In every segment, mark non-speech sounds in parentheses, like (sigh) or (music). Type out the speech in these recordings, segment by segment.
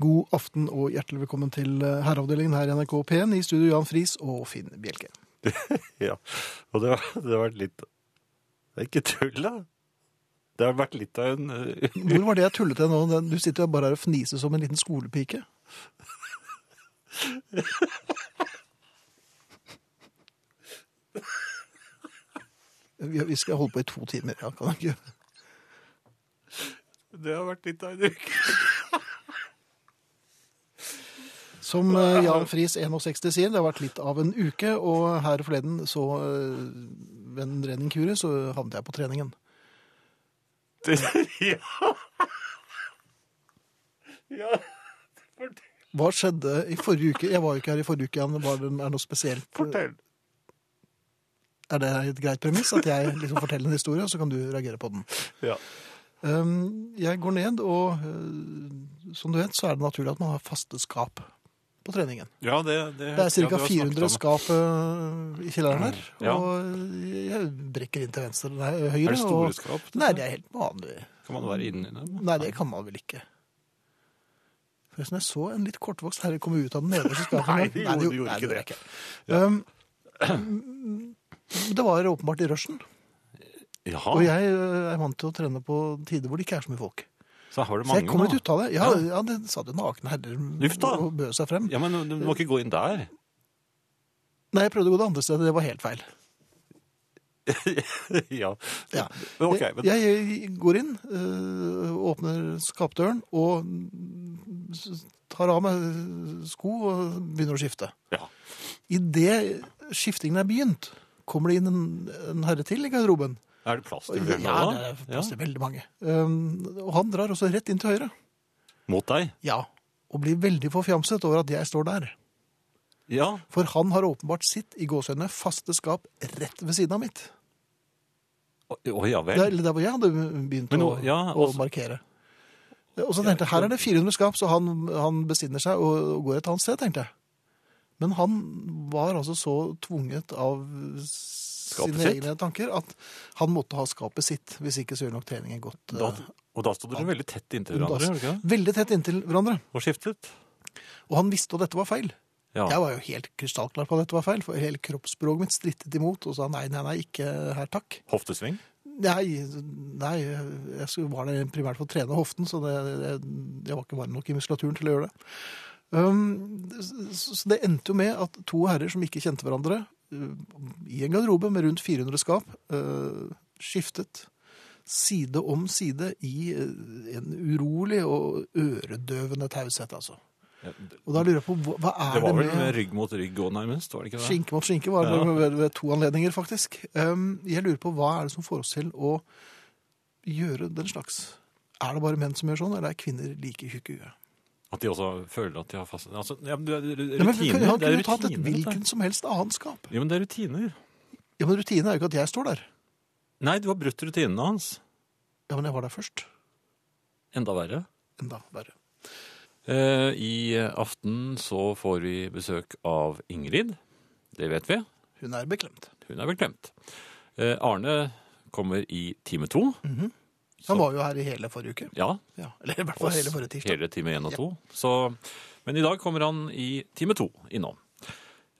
God aften og hjertelig velkommen til eh, herreavdelingen her i NRK P1. I studio Jan Friis og Finn Bjelke. Ja, og det har, det har vært litt Det er ikke tull, da. Det har vært litt av en (laughs) eh, Hvor var det jeg tullet til nå? Den- Du sitter jo bare her og fniser som en liten skolepike. Vi vi skal holde på i to timer. Ja, kan jeg ikke? Det har vært litt av en uke. (laughs) Som eh, Jan Friis 61 sier, det har vært litt av en uke. Og her forleden, så eh, ved en ren inkurie, så havnet jeg på treningen. Det- Ja. ja. Fortell. Hva skjedde i forrige uke? Jeg var jo ikke her i forrige uke. Jan. Var det, er det noe spesielt? fortell. Er det et greit premiss? At jeg liksom forteller en historie, og så kan du reagere på den? Ja. Um, Jeg går ned, og uh, som du vet, så er det naturlig at man har faste skap på treningen. ja, det Det, Det er ja, du ca. har snakket 400 om- skap uh, i kjelleren her, Ja. og eh, jeg brekker inn til venstre, nei, høyre. Er det store og- skap? liksom? Nei, det er helt vanlig. Kan man være inni dem? Nei, det kan man vel ikke. Forresten, jeg så en litt kortvokst herre komme ut av den nederste skapet. Nei, det gjorde- gjorde nei, ikke gjorde det. jeg Um, det var åpenbart i rushen, Jaha, og jeg uh, er vant til å trene på tider hvor det ikke er så mye folk. så her var det Så mange jeg kom litt nå. ut av det. Ja, Ja. ja. det satt jo nakne herrer Uff da. og bød seg frem. Ja, men du må ikke gå inn der. (laughs) Nei, jeg prøvde å gå det andre stedet. Det var helt feil. ja. Ja. Men ok, men jeg, jeg går inn, øh, åpner skapdøren og s- tar av meg sko og begynner å skifte. ja. Idet skiftingen er begynt, kommer det inn en, en herre til i garderoben. Er det plass til Ja, flere det nå, da? er plass til veldig mange. Um, og han drar også rett inn til høyre. Ja. Mot deg? Ja, og blir veldig forfjamset over at jeg står der. Ja. For han har åpenbart sitt i gåsøgne faste skap rett ved siden av mitt. Å å, ja Der, vel. eller der hvor jeg hadde begynt Men nå- å, ja, altså- å også- markere. Og så tenkte jeg, her er det 400 skap, så han, han besinner seg og, og går et annet sted, tenkte jeg. Men han var altså så tvunget av sine sitt? egne tanker at han måtte ha skapet sitt, hvis ikke så gjør nok treningen godt. Da, eh, og da stod dere veldig tett inntil undas. hverandre, gjorde dere ikke? Veldig tett inntil hverandre. det? Og skiftet? Og han visste at dette var feil. Ja. Jeg var jo helt krystallklar på at dette var feil, for hele kroppsspråket mitt strittet imot og sa nei, nei, nei, ikke her, takk. Hoftesving? Nei, nei, jeg skulle- var der primært for å trene hoften, så det, det, jeg var ikke varm nok i muskulaturen til å gjøre det. Um, så så det endte jo med at to herrer som ikke kjente hverandre, uh, i en garderobe med rundt 400 skap, uh, skiftet side om side i uh, en urolig og øredøvende taushet, altså. Ja, Og da lurer jeg på, hva, hva er Det det, var vel med... med rygg mot rygg òg, nærmest? var det ikke det? Skinke mot skinke var det Ja. ved, ved to anledninger, faktisk. Um, jeg lurer på hva er det som får oss til å gjøre den slags? Er det bare menn som gjør sånn, eller er kvinner like tjukke i huet? At de også føler at de har fast altså, ja, men det er Ja, men rutiner. Han det er kunne jo tatt et rutiner. dette her. hvilken som helst annet skap. Jo, men det er rutiner. Ja, Men rutinen er jo ikke at jeg står der. Nei, du har brutt rutinene hans. Ja, Men jeg var der først. Enda verre. Enda verre. Eh, I aften så får vi besøk av Ingrid. Det vet vi. Hun er beklemt. Hun er beklemt. Eh, Arne kommer i time to. Så- Mhm. Han var jo her i hele forrige uke. Ja, Ja, eller i hvert fall Oss. hele forrige tirsdag. Hele time 1 og 2. Så, men i dag kommer han i time 2 innom.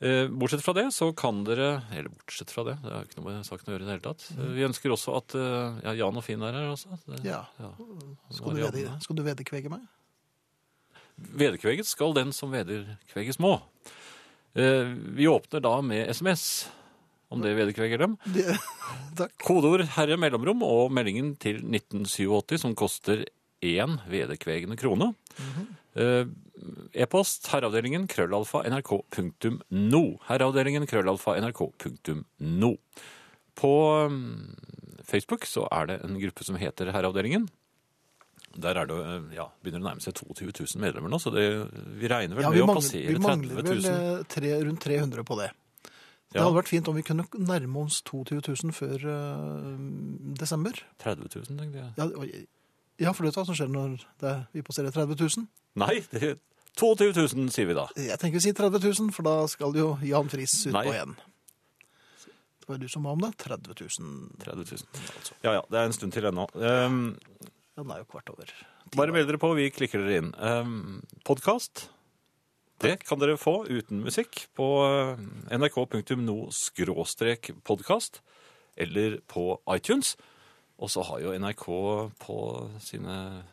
Eh, Bortsett fra det, så kan dere Eller bortsett fra det, det har jo ikke noe med saken å gjøre i det hele tatt. Eh, Vi ønsker også at eh, ja, Jan og Finn er her også. Det- Ja. ja. Skal du, vede, skal du vedekvege (laughs) meg? Vederkveget skal den som vederkveges må. Eh, Vi åpner da med SMS, om det vederkveger dem. Det, takk. Kodeord 'herre mellomrom' og meldingen til 1987 som koster én vederkvegende krone. Eh, E-post herreavdelingen krøllalfa nrk.no. Herreavdelingen krøllalfa nrk.no. På mm, Facebook så er det en gruppe som heter Herreavdelingen. Der er det, eh, ja, begynner det å nærme seg 22 000 medlemmer nå, så det, vi regner vel Ja, med vi å mangler, passere vi 30 mangler 000. vel eh, tre, rundt 300 på det. Det Ja. hadde vært fint om vi kunne nærme oss 22 000 før eh, desember. 30 000, tenkte jeg. Ja, oi, ja, for det er hva som skjer når det, vi passerer 30 000. Nei, det, 22 000 sier vi da. Jeg tenker vi sier 30 000, for da skal jo Jan Friis ut Nei. på igjen. Det var du som var om det. 30 000. 30 000, altså. Ja, ja, det er en stund til ennå. Ehm, Den er jo kvart over Bare meld dere på, vi klikker dere inn. Um, Podkast, det kan dere få uten musikk på eh, nrk.no-podkast eller på iTunes. Og så har jo NRK på sine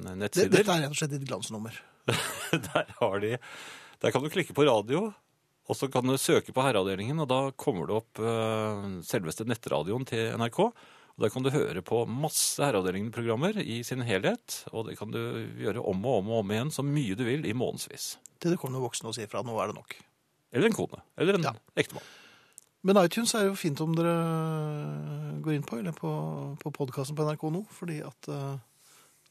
Det, nettsider dette er rett og slett et glansnummer. (laughs) der har de Der kan du klikke på radio, og så kan du søke på herreavdelingen, og da kommer det opp eh, selveste nettradioen til NRK. Og Der kan du høre på masse Herreavdelingen-programmer i sin helhet. Og det kan du gjøre om og om og om igjen så mye du vil i månedsvis. Til det kommer noen voksne og sier fra nå er det nok. Eller en kone. Eller en Ja. ektemann. Men iTunes er jo fint om dere går inn på, eller på, på podkasten på NRK nå, fordi at eh,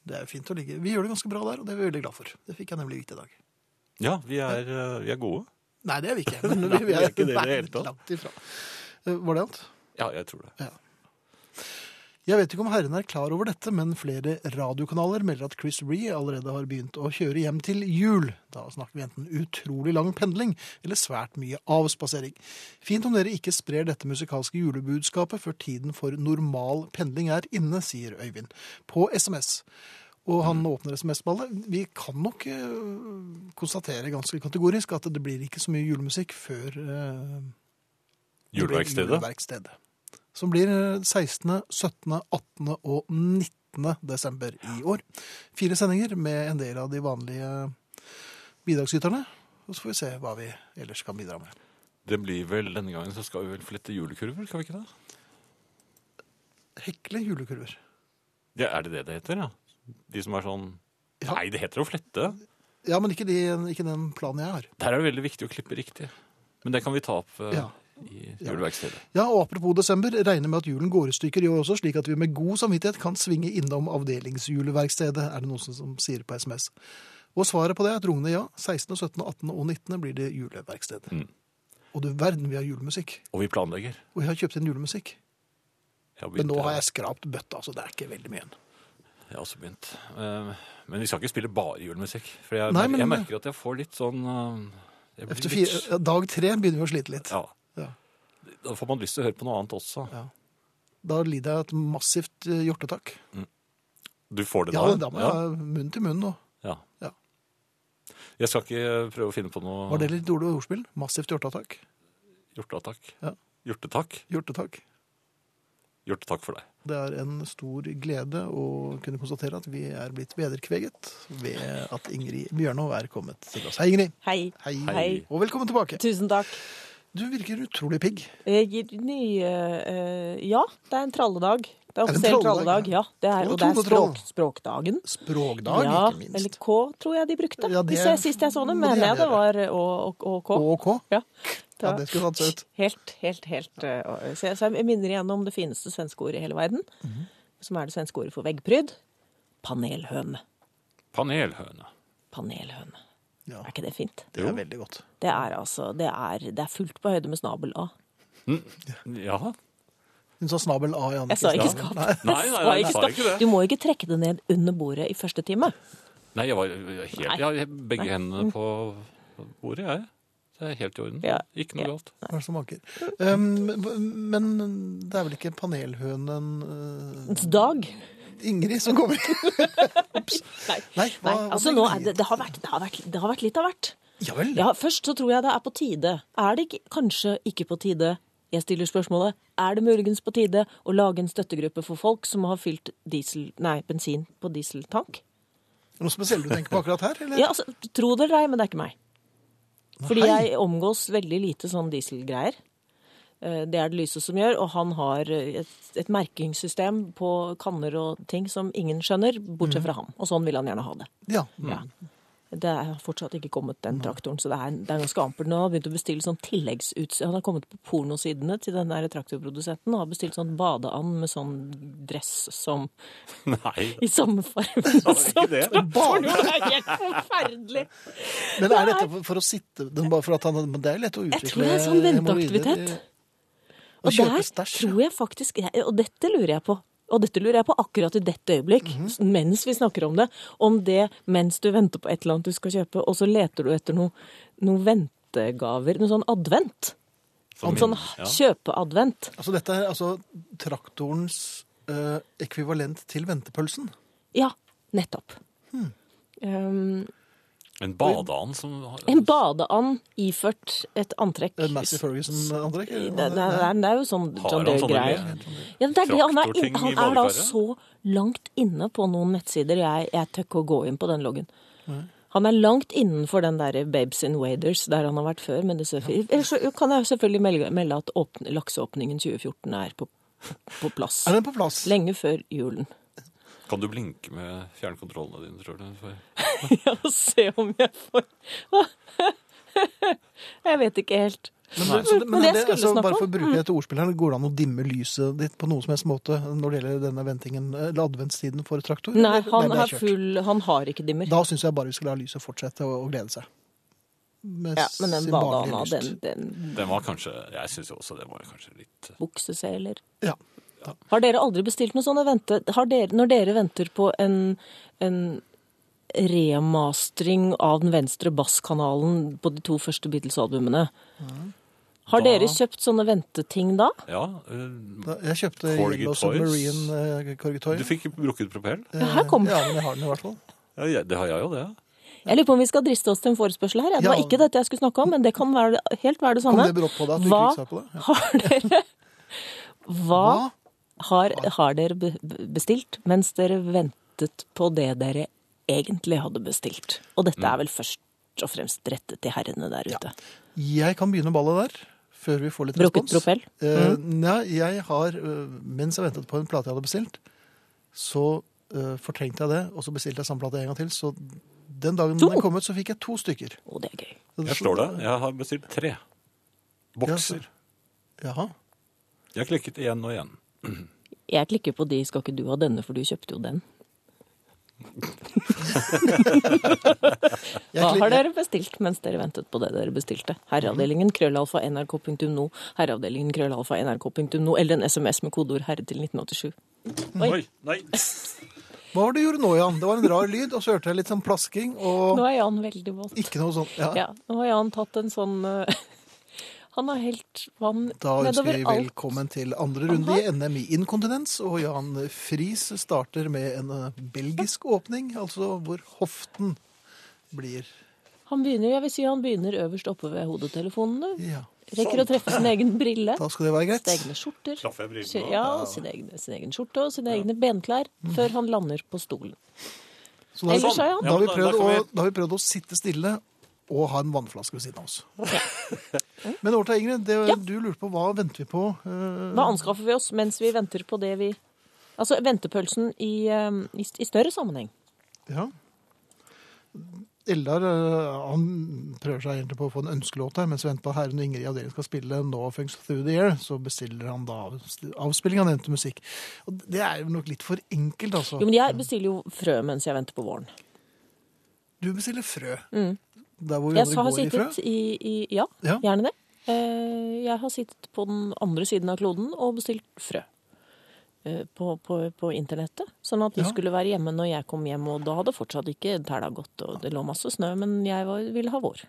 det er jo fint å ligge Vi gjør det ganske bra der, og det er vi veldig glad for. Det fikk jeg nemlig vite i dag. Ja, vi er, eh, vi er gode. Nei, det er vi ikke. Men (laughs) Nei, vi er ikke det i (laughs) det nei, hele tatt. Langt ifra. Eh, Var det alt? Ja, jeg tror det. Jeg vet ikke om herren er klar over dette, men flere radiokanaler melder at Chris Ree allerede har begynt å kjøre hjem til jul. Da snakker vi enten utrolig lang pendling eller svært mye avspasering. Fint om dere ikke sprer dette musikalske julebudskapet før tiden for normal pendling er inne, sier Øyvind på SMS. Og han åpner SMS-ballet. Vi kan nok eh, konstatere ganske kategorisk at det blir ikke så mye julemusikk før eh, det blir Juleverkstedet. Juleverkstedet. Som blir eh, 16., 17., 18. og 19. desember i år. Fire sendinger med en del av de vanlige bidragsyterne. Og så får vi se hva vi ellers kan bidra med. Det blir vel denne gangen så skal vi vel flette julekurver, skal vi ikke det? Hekle julekurver. Ja, Er det det det heter, ja? De som er sånn Ja. Nei, det heter å flette. Ja, men ikke, de, ikke den planen jeg har. Der er det veldig viktig å klippe riktig. Men det kan vi ta opp eh, Ja. i juleverkstedet. Ja, og apropos desember, regner med at julen går i stykker i år også, slik at vi med god samvittighet kan svinge innom avdelingsjuleverkstedet, er det noen som, som sier på SMS. Og svaret på det er et rungende ja. 16., 17., 18. og 19. blir det juleverksted. Mm. Og du verden, vi har julemusikk. Og vi planlegger. Og jeg har kjøpt inn julemusikk. Jeg har Men nå begynt, har jeg skrapt bøtta, så det er ikke veldig mye igjen. Jeg har også begynt. Eh, Men vi skal ikke spille bare julemusikk. For jeg, Nei, mer- men- eh, jeg merker at jeg får litt sånn eh, jeg blir Efter litt- fire, dag tre begynner vi å slite litt. Ja. Ja. Da får man lyst til å høre på noe annet også. Da lider jeg et massivt eh, hjortetak. Du får det Ja, da? da må jeg ha munn til munn nå. Ja. Ja. Jeg skal ikke eh, prøve å finne på noe Var det litt dårlig ordspill? Massivt hjortetak. hjorteattakk. Ja. Hjortetakk. Hjortetak. Hjortetakk for deg. Det er en stor glede å kunne konstatere at vi er blitt vederkveget ved at Ingrid Bjørnov er kommet til oss. Hei, Ingrid. Hei. Hei. Hei. Og velkommen tilbake. Tusen takk. Du virker utrolig pigg. Jeg gir nye eh, Ja, det er en tralledag. Det er det en offisiell tralledag? tralledag. Ja, det er, Og og det er trolletroll. språk, språkdagen. Språkdag, ja, ikke eller minst. K, tror jeg de brukte. Ja, det- Hvis jeg, sist jeg så dem, må det gjerne mener jeg det var Å og, og K. Og K. Ja, det Ja, var det skulle tatt seg ut. Helt, helt, helt eh, og- så, jeg, så jeg minner igjen om det fineste svenske ordet i hele verden, Mhm. som er det svenske ordet for veggpryd. Panelhøne. Panelhøne. Panelhøne. Ja, Er ikke det fint? det Jo. er veldig godt. Det er altså Det er, det er fullt på høyde med snabel A. Ja. Hun sa snabel A i andre Jeg sa ikke Kristiansen. skap. Nei. Nei, nei, nei, jeg sa ikke det. Du må ikke trekke det ned under bordet i første time. Nei, jeg var helt Nei. Jeg har begge hendene på bordet, jeg. Det er helt i orden. Ja. Ikke noe Ja. galt. Hva er det som manker? Um, men det er vel ikke panelhønen eh, Dag. Ingrid som kommer? Nei. Nei, hva, Nei, hva altså tenker nå du? er det, det, har vært, det, har vært, det har vært litt av hvert. Ja vel. Ja, Først så tror jeg det er på tide. Er det ikke, kanskje ikke på tide? Jeg stiller spørsmålet. Er det muligens på tide å lage en støttegruppe for folk som har fylt diesel, nei, bensin på dieseltank? Er det Noe spesielt du tenker på akkurat her? Eller? Ja, altså, Tro det eller ei, men det er ikke meg. Fordi Hei. jeg omgås veldig lite sånn dieselgreier. Eh, Det er det lyse som gjør, og han har eh, et, et merkingssystem på kanner og ting som ingen skjønner, bortsett fra ham. Og sånn vil han gjerne ha det. Ja. Ja. Det er fortsatt ikke kommet den traktoren, så det er, det er ganske ampert. Nå har han begynt å bestille sånn tilleggsutstyr. Han har kommet på pornosidene til den der traktorprodusenten og har bestilt sånn badeand med sånn dress som (laughs) Nei. i samme farge som det? traktoren. Jo, (laughs) Det er helt forferdelig! Men er dette for, for å sitte den bare for at han, men Det er lett å utvikle Jeg tror det er sånn hemoroider venteaktivitet. i- Og Og kjøpe der stæsj. tror jeg faktisk jeg, Og dette lurer jeg på. Og dette lurer jeg på akkurat i dette øyeblikk, mens vi snakker om det. Om det mens du venter på et eller annet du skal kjøpe, og så leter du etter noen noe ventegaver. Noe sånn advent. Sånn sånn min- ja. kjøpeadvent. Altså, dette er altså traktorens eh, ekvivalent til ventepølsen. Ja, nettopp. Um, En badeand som har- en badeand iført et antrekk. Eh, Massey Ferguson-antrekk? Det, det, det, er- det er jo sånn Har John han sånne Døe-greier. greier? Ja, men det er det. Han er, Traktorting inn- han i er da badekaret? så langt inne på noen nettsider. Jeg, jeg tør ikke å gå inn på den loggen. Han er langt innenfor den der Babes in Waders, der han har vært før. Men det surfer- Ellers så kan jeg jo selvfølgelig melde, melde at åpne, lakseåpningen 2014 er på, på plass. Er den på plass? Lenge før (laughs) julen. Kan du blinke med fjernkontrollene dine, tror du? For- Ja, se om jeg får (laughs) Jeg vet ikke helt. Men, så, det- men Men jeg det, skulle altså, snakke bare om- for å bruke et ordspill her, går det an å dimme lyset ditt på noe som helst måte når det gjelder denne ventingen, eh, eller adventstiden for traktor? Nei, Eller- han, det er har kjørt. full, han har ikke dimmer. Da syns jeg bare vi skal la lyset fortsette å, å glede seg. Med Ja, men den sin barnlige badeanda, lyst. den, den Den var kanskje Jeg syns jo også det var kanskje litt bukseseler Ja. Har dere aldri bestilt noe sånt? Vente, har dere, når dere venter på en, en remastering av den venstre basskanalen på de to første Beatles-albumene, har Da- dere kjøpt sånne venteting da? Ja. eh, Da, jeg kjøpte Corgi Yellow Toys. Submarine eh, Corgi Toy. Eh, Du fikk brukket propell? Ja, her kom Ja, men jeg har den i hvert fall. Ja, jeg- det har jeg jo, det. Jeg lurer på om vi skal driste oss til en forespørsel her. Ja, det Ja. var ikke dette jeg skulle snakke om, men det kan være, helt være det Kom samme. det brått på deg at du Hva ikke fikk svar på det? har dere Hva Hva? har, har dere be- be- bestilt mens dere ventet på det dere egentlig hadde bestilt? Og dette Mm. er vel først og fremst rettet til herrene der ute. Jeg kan begynne ballet der, før vi får litt Brukket respons. propell? Mm. Eh, nei, jeg har, eh, mens jeg ventet på en plate jeg hadde bestilt, så eh, fortrengte jeg det, og så bestilte jeg samme plate en gang til. Så den dagen To? den kom ut, så fikk jeg to stykker. Å, det er gøy. Jeg slår deg. Jeg har bestilt tre. Bokser. Jaha. Jeg har klikket igjen og igjen. Jeg klikker på de, skal ikke du ha denne, for du kjøpte jo den. Jeg Hva klik- har dere bestilt mens dere ventet på det dere bestilte? Herreavdelingen krøllalfa nrk.no, herreavdelingen krøllalfa nrk.no, eller en SMS med kodeord 'herre' til 1987. Oi. nei. Hva var det du gjorde nå, Jan? Det var en rar lyd, og så hørte jeg litt sånn plasking, og Nå er Jan veldig våt. ikke noe sånn. Ja. Ja, nå har Jan tatt en sånn eh, (laughs) Han har helt vann Da ønsker nedover vi alt. velkommen til andre runde i NM i inkontinens. Og Jan Friis starter med en eh, belgisk åpning, altså hvor hoften blir Han begynner, jeg vil si han begynner øverst oppe ved hodetelefonene. Ja. Sånn. Rekker å treffe sin egen brille, Da skal det være sine greit. egne skjorter. Klaffer jeg brillene sin- også? Ja, og sin, egne, sin egen skjorte og sine egne benklær før han lander på stolen. Så da, Ellers har sånn. da, Jan- har vi Sånn. Ja, men da- prøvd da å, kan vi- da har vi prøvd å sitte stille og ha en vannflaske ved siden av oss. (laughs) Men over til Ingrid. Det, Ja. du lurte på hva venter vi på? eh, Hva anskaffer vi oss mens vi venter på det vi Altså ventepølsen i, eh, i, i større sammenheng. Ja. Eldar eh, han prøver seg egentlig på å få en ønskelåt her, mens vi venter på at herren og Ingrid i avdelingen skal spille 'No Funks Through The Air', så bestiller han da avs- avspilling av nevnte musikk. Og Det er jo nok litt for enkelt, altså. Jo, men jeg bestiller jo frø mens jeg venter på våren. Du bestiller frø. Der hvor vi Mm. Jeg andre har går i frø. sittet i, i Ja, Ja. gjerne det. Eh, Jeg har sittet på den andre siden av kloden og bestilt frø. eh, På, på, på internettet. Sånn at de Ja. skulle være hjemme når jeg kom hjem. Og da hadde fortsatt ikke tæla gått, og det lå masse snø, men jeg var, ville ha vår.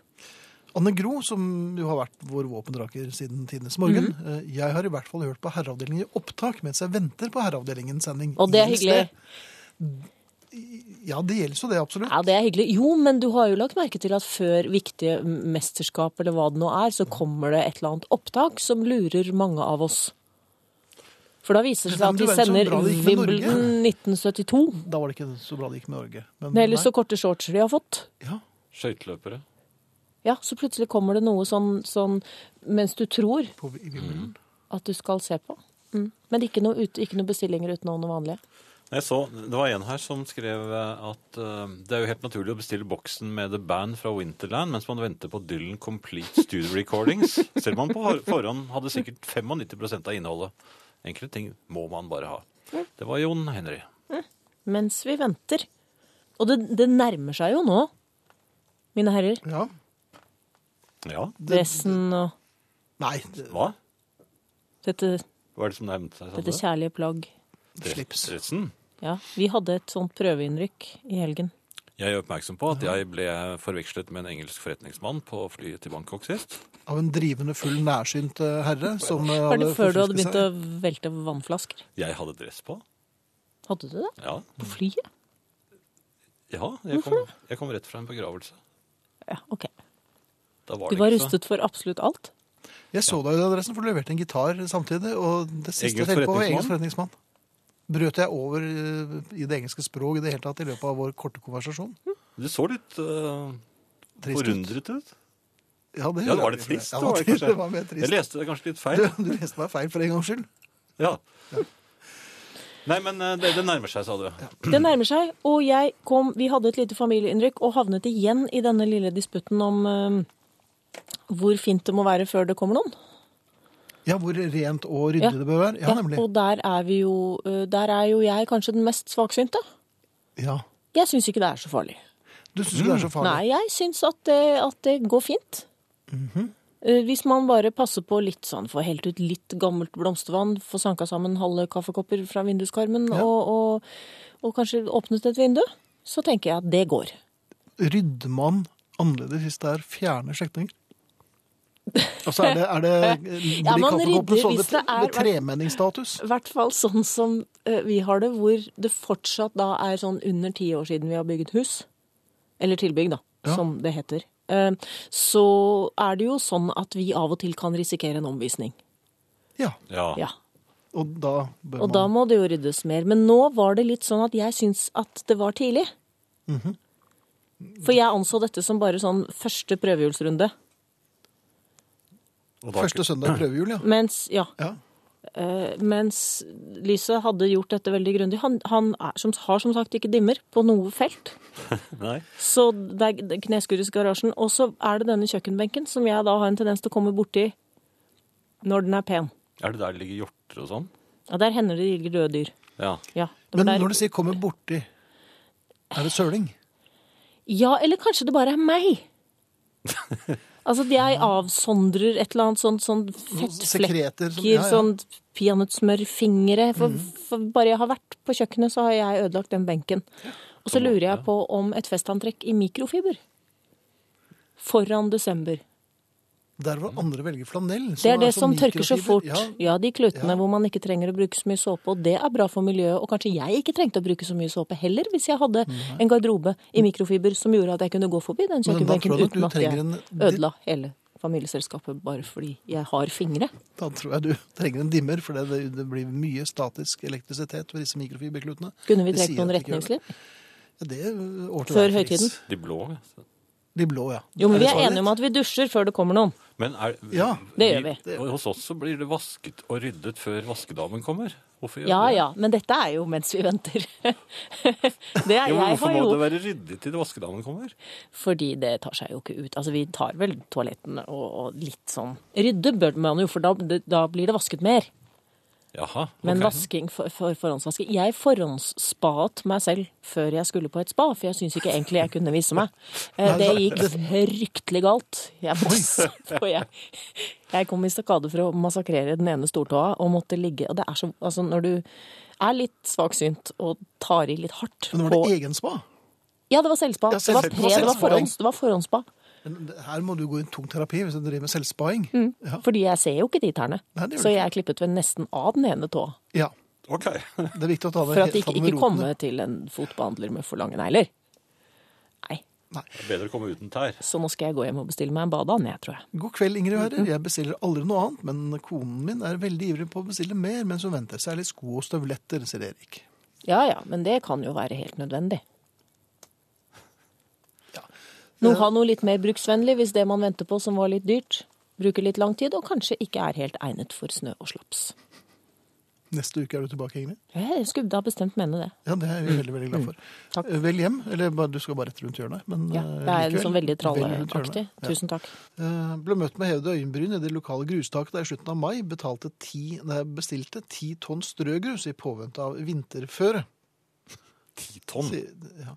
Anne Gro, som jo har vært vår våpendraker siden tidenes morgen, Mhm. eh, jeg har i hvert fall hørt på Herreavdelingen i opptak mens jeg venter på Herreavdelingens sending. Og det er Gjelder hyggelig. det? Ja, det gjelder jo det, absolutt. Ja, det er hyggelig. Jo, men du har jo lagt merke til at før viktige mesterskap eller hva det nå er, så kommer det et eller annet opptak som lurer mange av oss. For da viser det seg Men at du vi verden så sender bra det gikk med Norge. Wimbledon 1972. Da var det ikke så bra det gikk med Norge. Men, Med ellers så korte shortser de har fått. Ja. Skøyteløpere. Ja, så plutselig kommer det noe sånn, sånn mens du tror på, i Wimbledon. Mhm. at du skal se på. Mm. Men ikke noe, ut, ikke noe bestillinger utenom det vanlige. Jeg så, Det var en her som skrev eh, at eh, det er jo helt naturlig å bestille boksen med The Band fra Winterland mens man venter på Dylan Complete Studio Recordings, selv om man på hor- forhånd hadde sikkert 95 av innholdet. Enkle ting må man bare ha. Det var Jon Henry. Mens vi venter. Og det, det nærmer seg jo nå, mine herrer. Ja. Ja, Dressen og Nei, det, hva? dette, Hva er det som nærmet seg? dette kjærlige plagg. slips. Dressen? Ja, vi hadde et sånt prøveinnrykk i helgen. Jeg gjør oppmerksom på at jeg ble forvekslet med en engelsk forretningsmann på flyet til Bangkok sist. Av en drivende full nærsynt eh, herre som eh, Var det hadde før du forfusket hadde begynt å velte vannflasker? Jeg hadde dress på. Mm. Hadde du det? Ja. På flyet? Ja, jeg kom, Mhm. jeg kom rett fra en begravelse. Ja, ok. Da var Du det var ikke så- rustet for absolutt alt? Jeg så deg i adressen, for du leverte en gitar samtidig. Og det siste Egen jeg tenkte på, var forretningsmann. egen forretningsmann. Brøt jeg over eh, i det engelske språk i det hele tatt i løpet av vår korte konversasjon? Du så litt eh, Trist ut. forundret ut. Ja, det, Ja, gjorde var jeg. det trist? Ja, det var det det kanskje. var mer Jeg trist. leste det kanskje litt feil. (laughs) Du, du leste meg feil for en gangs skyld. Ja. Nei, men eh, det, det nærmer seg, sa du. Det nærmer seg, og jeg kom Vi hadde et lite familieinnrykk og havnet igjen i denne lille disputten om eh, hvor fint det må være før det kommer noen. Ja, hvor rent og ryddig Ja. det bør være. Ja, Ja, nemlig. og der er, vi jo, eh, der er jo jeg kanskje den mest svaksynte. Ja. Jeg syns ikke det er så farlig. Du syns ikke det er så farlig? Nei, jeg syns at det, at det går fint. Mhm. Eh, Hvis man bare passer på litt sånn, får helt ut litt gammelt blomstervann, får sanka sammen halve kaffekopper fra vinduskarmen Ja. og, og, og kanskje åpnet et vindu, så tenker jeg at det går. Mm, Rydder man annerledes hvis det er fjerne slektninger? Og så er det, er det blir (laughs) Ja, man kaffekoppene rydder sånn hvis det er- med tremenningsstatus? I hvert fall sånn som eh, vi har det, hvor det fortsatt da er sånn under ti år siden vi har bygget hus. Eller tilbygg, da, Ja. som det heter. Eh, Så er det jo sånn at vi av og til kan risikere en omvisning. Ja. Ja. Ja. Og da bør Og da man må det jo ryddes mer. Men nå var det litt sånn at jeg syns at det var tidlig. For jeg anså dette som bare sånn første prøvehjulsrunde. Og da- Første søndag i prøvejul, ja. Mens, ja, ja. eh, mens Lyset hadde gjort dette veldig grundig. Han, han er, som, har som sagt ikke dimmer på noe felt. Nei. Så det er det er kneskuddsgarasjen. Og så er det denne kjøkkenbenken som jeg da har en tendens til å komme borti når den er pen. Er det der det ligger hjorter og sånn? Ja, Der hender det ligger døde dyr. Ja. Ja, det var Men der- når du sier 'kommer borti', er det søling? Ja, eller kanskje det bare (laughs) er meg. Altså at jeg avsondrer et eller annet sånt, sånn fettflekker, Sekreter? som- ja, Mm. ja. sånn peanøttsmørfingre. For, for bare jeg har vært på kjøkkenet, så har jeg ødelagt den benken. Og så lurer jeg på om et festantrekk i mikrofiber. Foran desember. Der hvor andre velger flanell. Det er det sånn som tørker så mikrofiber. fort. Ja, Ja, de klutene Ja. hvor man ikke trenger å bruke så mye såpe. Og det er bra for miljøet. Og kanskje jeg ikke trengte å bruke så mye såpe heller, hvis jeg hadde en garderobe i mikrofiber som gjorde at jeg kunne gå forbi den da kjøkkenbenken tror jeg at uten du at jeg trenger en- ødela hele familieselskapet bare fordi jeg har fingre. da tror jeg du (laughs) trenger en dimmer, for det, det blir mye statisk elektrisitet ved disse mikrofiberklutene. Kunne vi Det trukket sier noen at de ikke gjør det. retningslinjer? Ja, det er over til Før deg, Felix. høytiden? De blå. altså. ja. De blå, ja. Jo, men vi det er svaret enige om at vi dusjer før det kommer noen. Men er, Ja, det gjør vi. og Hos oss så blir det vasket og ryddet før vaskedamen kommer. Hvorfor gjør Ja vi det? ja, men dette er jo mens vi venter. (laughs) Det er Jo, men jeg hvorfor har må jo det være ryddig til vaskedamen kommer? Fordi det tar seg jo ikke ut. Altså, vi tar vel toalettene og, og litt sånn Rydde bør man jo, for da, da blir det vasket mer. Jaha, Men ok. vasking for, for forhåndsvasking Jeg forhåndsspaet meg selv før jeg skulle på et spa, for jeg syns ikke egentlig jeg kunne vise (laughs) meg. Eh, Det gikk fryktelig galt. Jeg, passet (laughs) på, jeg, jeg kom i stakade for å massakrere den ene stortåa og måtte ligge Og det er så Altså, når du er litt svaksynt og tar i litt hardt Men nå på var det egen spa. Ja, det var selvspa. Ja, Det var selvspa. pre, det var Selvspaing. forhånds, det var forhåndsspa. Men Her må du gå i en tung terapi hvis du driver med selvspaing. Mm. Ja. Fordi jeg ser jo ikke de tærne. Nei, det gjør Så du ikke. jeg er klippet vel nesten av den ene tåa. ja. Ok. (laughs) Det er viktig å ta det For at helt- det ta ikke, det med ikke roten. komme til en fotbehandler med for lange negler. Nei, Bedre å komme uten tær. så nå skal jeg gå hjem og bestille meg en badeand, jeg, tror jeg. God kveld, Ingrid og herrer. Jeg bestiller aldri noe annet, men konen min er veldig ivrig på å bestille mer mens hun venter. Særlig sko og støvletter, sier Erik. Ja ja, men det kan jo være helt nødvendig. Ja. Nå ha noe litt mer bruksvennlig hvis det man venter på som var litt dyrt, bruker litt lang tid og kanskje ikke er helt egnet for snø og slaps. Neste uke er du tilbake, Ingrid. Jeg skulle da bestemt mene det. Ja, det er vi veldig, veldig glad for. Mm. Takk. Eh, Vel hjem, eller bare- du skal bare rett rundt hjørnet. Men, Ja, eh, det er likevel, sånn veldig vel rundt tralleaktig. hjørnet. Ja. Tusen takk. Eh, Ble møtt med hevede øyenbryn i det lokale grustaket da i slutten av mai betalte ti, nei, bestilte ti tonn strøgrus i påvente av vinterføre. Ti tonn. Sier- Ja.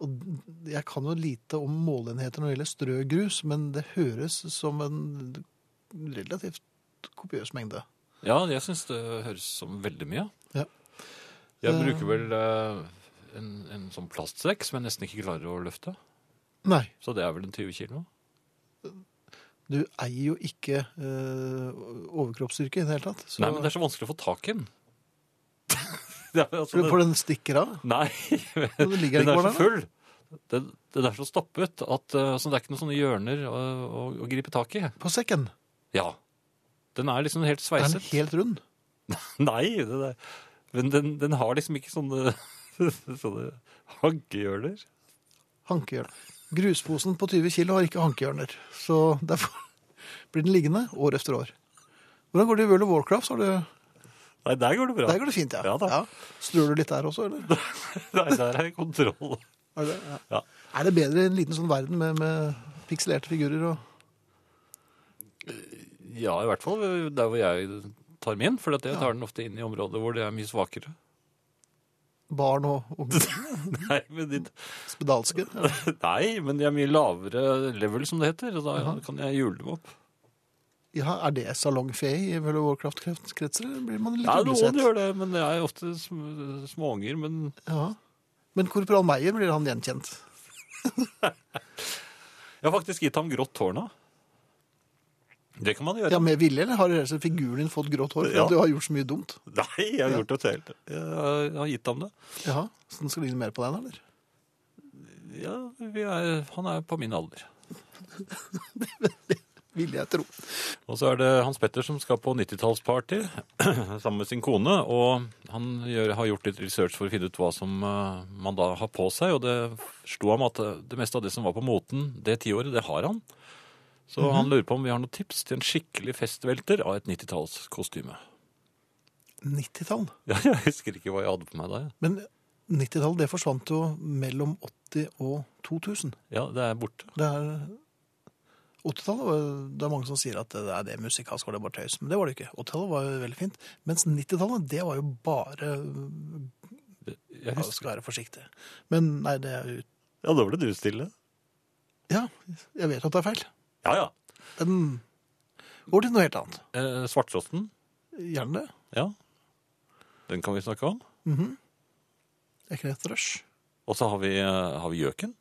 Og jeg kan jo lite om målenheter når det gjelder strøgrus, men det høres som en relativt kopiøs mengde. Ja, jeg syns det høres som veldig mye. Ja. Jeg Eh. bruker vel eh, en, en sånn plastsekk som jeg nesten ikke klarer å løfte. Nei, Så det er vel en 20 kilo. du eier jo ikke eh, overkroppsstyrke i det hele tatt. Så Nei, men det er så vanskelig å få tak i den. (laughs) det er, altså, For den stikker av. Nei, og Det (laughs) ligger den ikke er bare der. da. så full. Det, det er derfor det stoppet. At, eh, så det er ikke noen sånne hjørner å, å, å gripe tak i. På sekken Ja. Den er liksom helt er sveiset. den helt rund. (laughs) Nei, det der. men den, den har liksom ikke sånne, (laughs) sånne haggehjørner. Hankehjørn. Grusposen på 20 kilo har ikke hankehjørner. Så derfor (laughs) blir den liggende år etter år. Hvordan går det i World of Warcraft? Har du... Nei, der går det bra. Der går det fint, ja. Ja da. Struer du litt der også, eller? (laughs) Nei, der er kontroll. Er det, ja. Ja. er det bedre i en liten sånn verden med, med pikselerte figurer og Ja, i hvert fall der hvor jeg tar min, for at jeg tar den ofte inn i områder hvor det er mye svakere. barn og unge (laughs) Nei, men, de- spedalske? Ja. nei, men de er mye lavere level, som det heter, og da kan jeg jule dem opp. Ja, er det salongfe i World of Warcraft-kretser? eller Blir man litt Nei, noen uglesett? gjør det, men det er ofte sm- småunger, men Ja. Men korporal Meyer blir han gjenkjent. jeg har faktisk gitt ham grått hår nå. Det kan man gjøre. Ja, Med vilje, eller har altså figuren din fått grått hår? For Ja. at Du har gjort så mye dumt. Nei, jeg har gjort det selv. Jeg har gitt ham det. Ja, Så den skal ligne mer på deg, nå, eller? Ja, vi er, han er på min alder. Vil jeg tro. Og så er det Hans Petter som skal på 90-tallsparty (clears throat) sammen med sin kone. Og han gjør, har gjort litt research for å finne ut hva som eh, man da har på seg. Og det slo ham at eh, det meste av det som var på moten det tiåret, det har han. Så han lurer på om vi har noen tips til en skikkelig festvelter av et 90-tallskostyme. 90-tall. (laughs) Ja, jeg husker ikke hva jeg hadde på meg da. jeg. Men 90-tallet det forsvant jo mellom 80 og 2000. Ja, det er borte. Det er 80-tallet var- Det er mange som sier at det er det musikalsk var det bare tøys, men det var det ikke. 80-tallet var jo veldig fint. Mens 90-tallet, det var jo bare Jeg ja, husker. Skal være forsiktig. Men nei, det er jo Ja, da ble du stille. Ja, jeg vet at det er feil. Ja, ja. Den går til noe helt annet. Eh, Svarttrosten. Gjerne det. Ja. Den kan vi snakke om. Det er ikke et rush. Og så har vi, eh, har vi gjøken.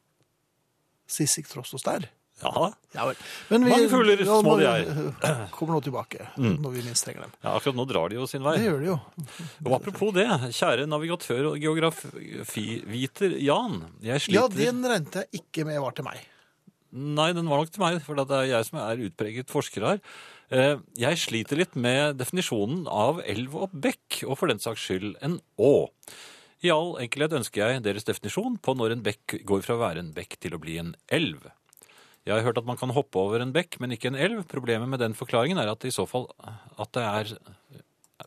Sissik Tross og Stær. Ja. Ja vel. Men Mange fugler, nå små må de vi- (clears throat) Kommer nå tilbake Mm. når vi minst trenger dem. ja, akkurat nå drar de jo sin Det vei. gjør de jo. Og apropos det, kjære navigatør og geografiviter Jan. Jeg Ja, sliter den regnet jeg ikke med var til meg. Nei, den var nok til meg, for det er jeg som er utpreget forsker her. Eh, Jeg sliter litt med definisjonen av elv og bekk, og for den saks skyld en å. I all enkelhet ønsker jeg deres definisjon på når en bekk går fra å være en bekk til å bli en elv. Jeg har hørt at man kan hoppe over en bekk, men ikke en elv. Problemet med den forklaringen er at, i så fall, at det er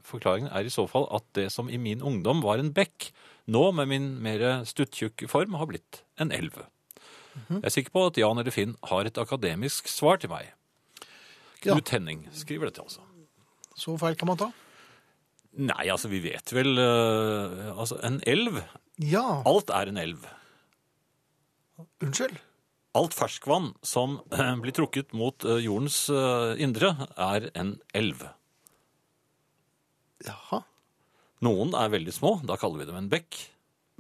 Forklaringen er i så fall at det som i min ungdom var en bekk, nå med min mer stuttjukke form har blitt en elv. Jeg er sikker på at Jan eller Finn har et akademisk svar til meg. Ja. Knut Henning skriver dette, altså. Så feil kan man ta. Nei, altså, vi vet vel eh, Altså, en elv Ja, Alt er en elv. unnskyld. Alt ferskvann som eh, blir trukket mot eh, jordens eh, indre, er en elv. Jaha. Noen er veldig små, da kaller vi dem en bekk.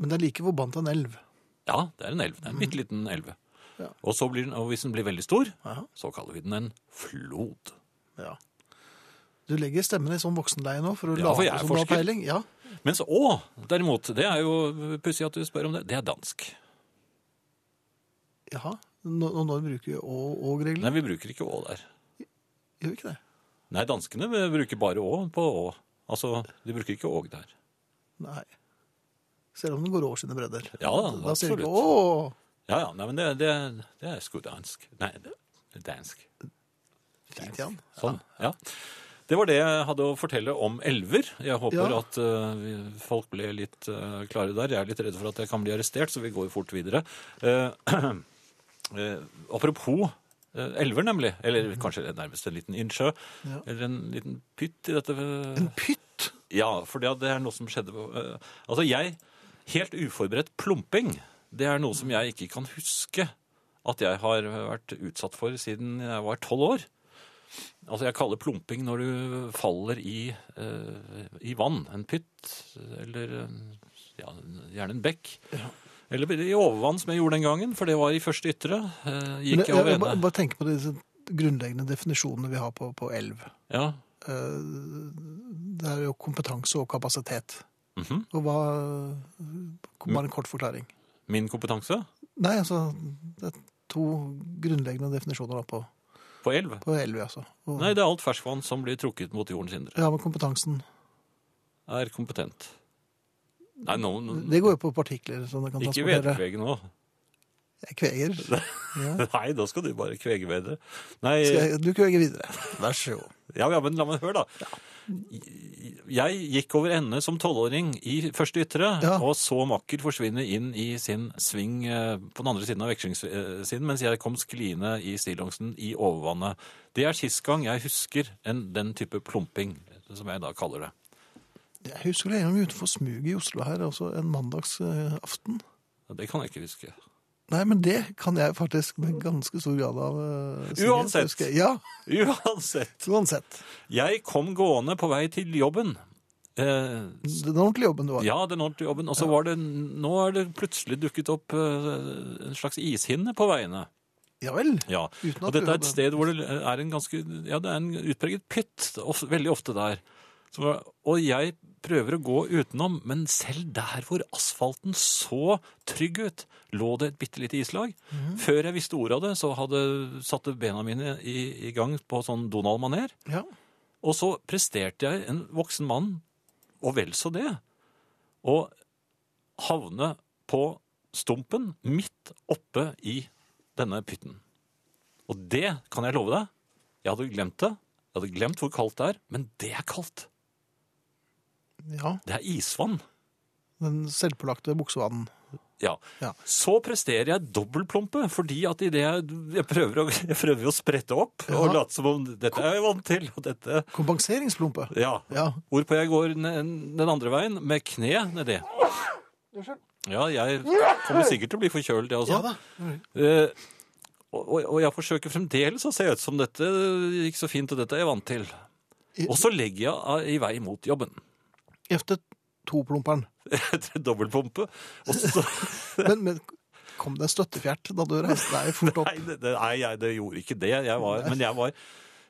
Men det er like forbannet en elv. Ja, det er en elv. Det er en bitte liten elv. Ja. Og, så blir den, og hvis den blir veldig stor, Jaha. så kaller vi den en flod. Ja. Du legger stemmen i sånn voksenleie nå for å Ja, for jeg late er som du har forsker. peiling. Ja. Mens å, derimot, det er jo pussig at du spør om det, det er dansk. Jaha. Nå, nå nå bruker vi å-og-regler. Nei, vi bruker ikke å der. Gjør vi ikke det? Nei, danskene bruker bare å på å. Altså, de bruker ikke åg der. Nei. Selv om den går over sine bredder. Ja, da sier vi ikke absolutt. å Ja, ja, nei, men det, det, det er skodansk. Nei, det er dansk. Fint igjen. Sånn, ja. Det var det jeg hadde å fortelle om elver. Jeg håper Ja. at eh, vi- folk ble litt eh, klare der. Jeg er litt redd for at jeg kan bli arrestert, så vi går fort videre. Eh, (clears throat) eh, apropos eh, elver, nemlig. Eller kanskje nærmest en liten innsjø. Ja. Eller en liten pytt i dette eh, En pytt! Ja, for det, det er noe som skjedde eh, Altså, jeg Helt uforberedt plumping, det er noe som jeg ikke kan huske at jeg har vært utsatt for siden jeg var tolv år. Altså, jeg kaller plumping når du faller i, eh, i vann. En pytt, eller eh, ja, gjerne en bekk. Eller i overvann, som jeg gjorde den gangen, for det var i første ytre. eh, Men gikk jeg, jeg over jeg, bare, ende. bare tenk på disse grunnleggende definisjonene vi har på, på elv. Ja. Eh, Det er jo kompetanse og kapasitet. mhm. Og hva Bare en kort forklaring. Min kompetanse? Nei, altså Det er to grunnleggende definisjoner da på, På elv? på elv, altså. Og, Nei, det er alt ferskvann som blir trukket mot jordens indre. ja, men kompetansen Er kompetent. Nei, nå nå- Det går jo på partikler som det kan Ikke transportere. vedkvege nå. (laughs) Jeg kveger. Ja. Nei, da skal du bare kvege bedre. Nei, Skal jeg, du kveger videre. Vær så god. ja, ja, men la meg høre, da. Jeg gikk over ende som tolvåring i første ytre, Ja. og så makker forsvinne inn i sin sving eh, på den andre siden av vekslingssiden, mens jeg kom skliende i stillongsen i overvannet. Det er sist gang jeg husker en, den type plumping, som jeg da kaller det. Jeg husker det en gang utenfor smuget i Oslo her, også en mandagsaften. Det kan jeg ikke huske. Nei, men det kan jeg faktisk med ganske stor grad av eh, sikkerhet Uansett. huske. Ja, Uansett. uansett. Jeg kom gående på vei til jobben. Eh, Den ordentlige jobben du har. ja, den ordentlige jobben. Og så var det Nå er det plutselig dukket opp eh, en slags ishinne på veiene. Ja vel. Ja. Uten Og at du dette er hadde- et sted hvor det er en ganske Ja, det er en utpreget pytt of, veldig ofte der. Så, og jeg prøver å gå utenom, men selv der hvor asfalten så trygg ut, lå det et bitte lite islag. Mhm. Før jeg visste ordet av det, så hadde satte bena mine i, i gang på sånn Donald-maner. Ja. Og så presterte jeg en voksen mann, og vel så det, å havne på stumpen midt oppe i denne pytten. Og det kan jeg love deg. Jeg hadde glemt det. Jeg hadde glemt hvor kaldt det er, men det er kaldt. ja. Det er isvann. Den selvpålagte buksevanen. Ja. Ja. Så presterer jeg dobbeltplompe, fordi at i det jeg, jeg, prøver å, (laughs) jeg prøver å sprette opp og Ja. late som om dette er jeg vant til, og dette Kompenseringsplumpe. Ja. Ja. Hvorpå jeg går ne- den andre veien med kne nedi. Ja, jeg kommer sikkert til å bli forkjølt, jeg ja også. da. Eh, og, og- og jeg forsøker fremdeles å se ut som dette gikk så fint, og dette er jeg vant til. Og så legger jeg av- i vei mot jobben. (laughs) Efter to-plumperen. Etter dobbeltpumpe. Og (laughs) så, Men, men kom det en støttefjert da du reiste deg fort opp? nei, det, det- nei, jeg det gjorde ikke det. Jeg var, men jeg var,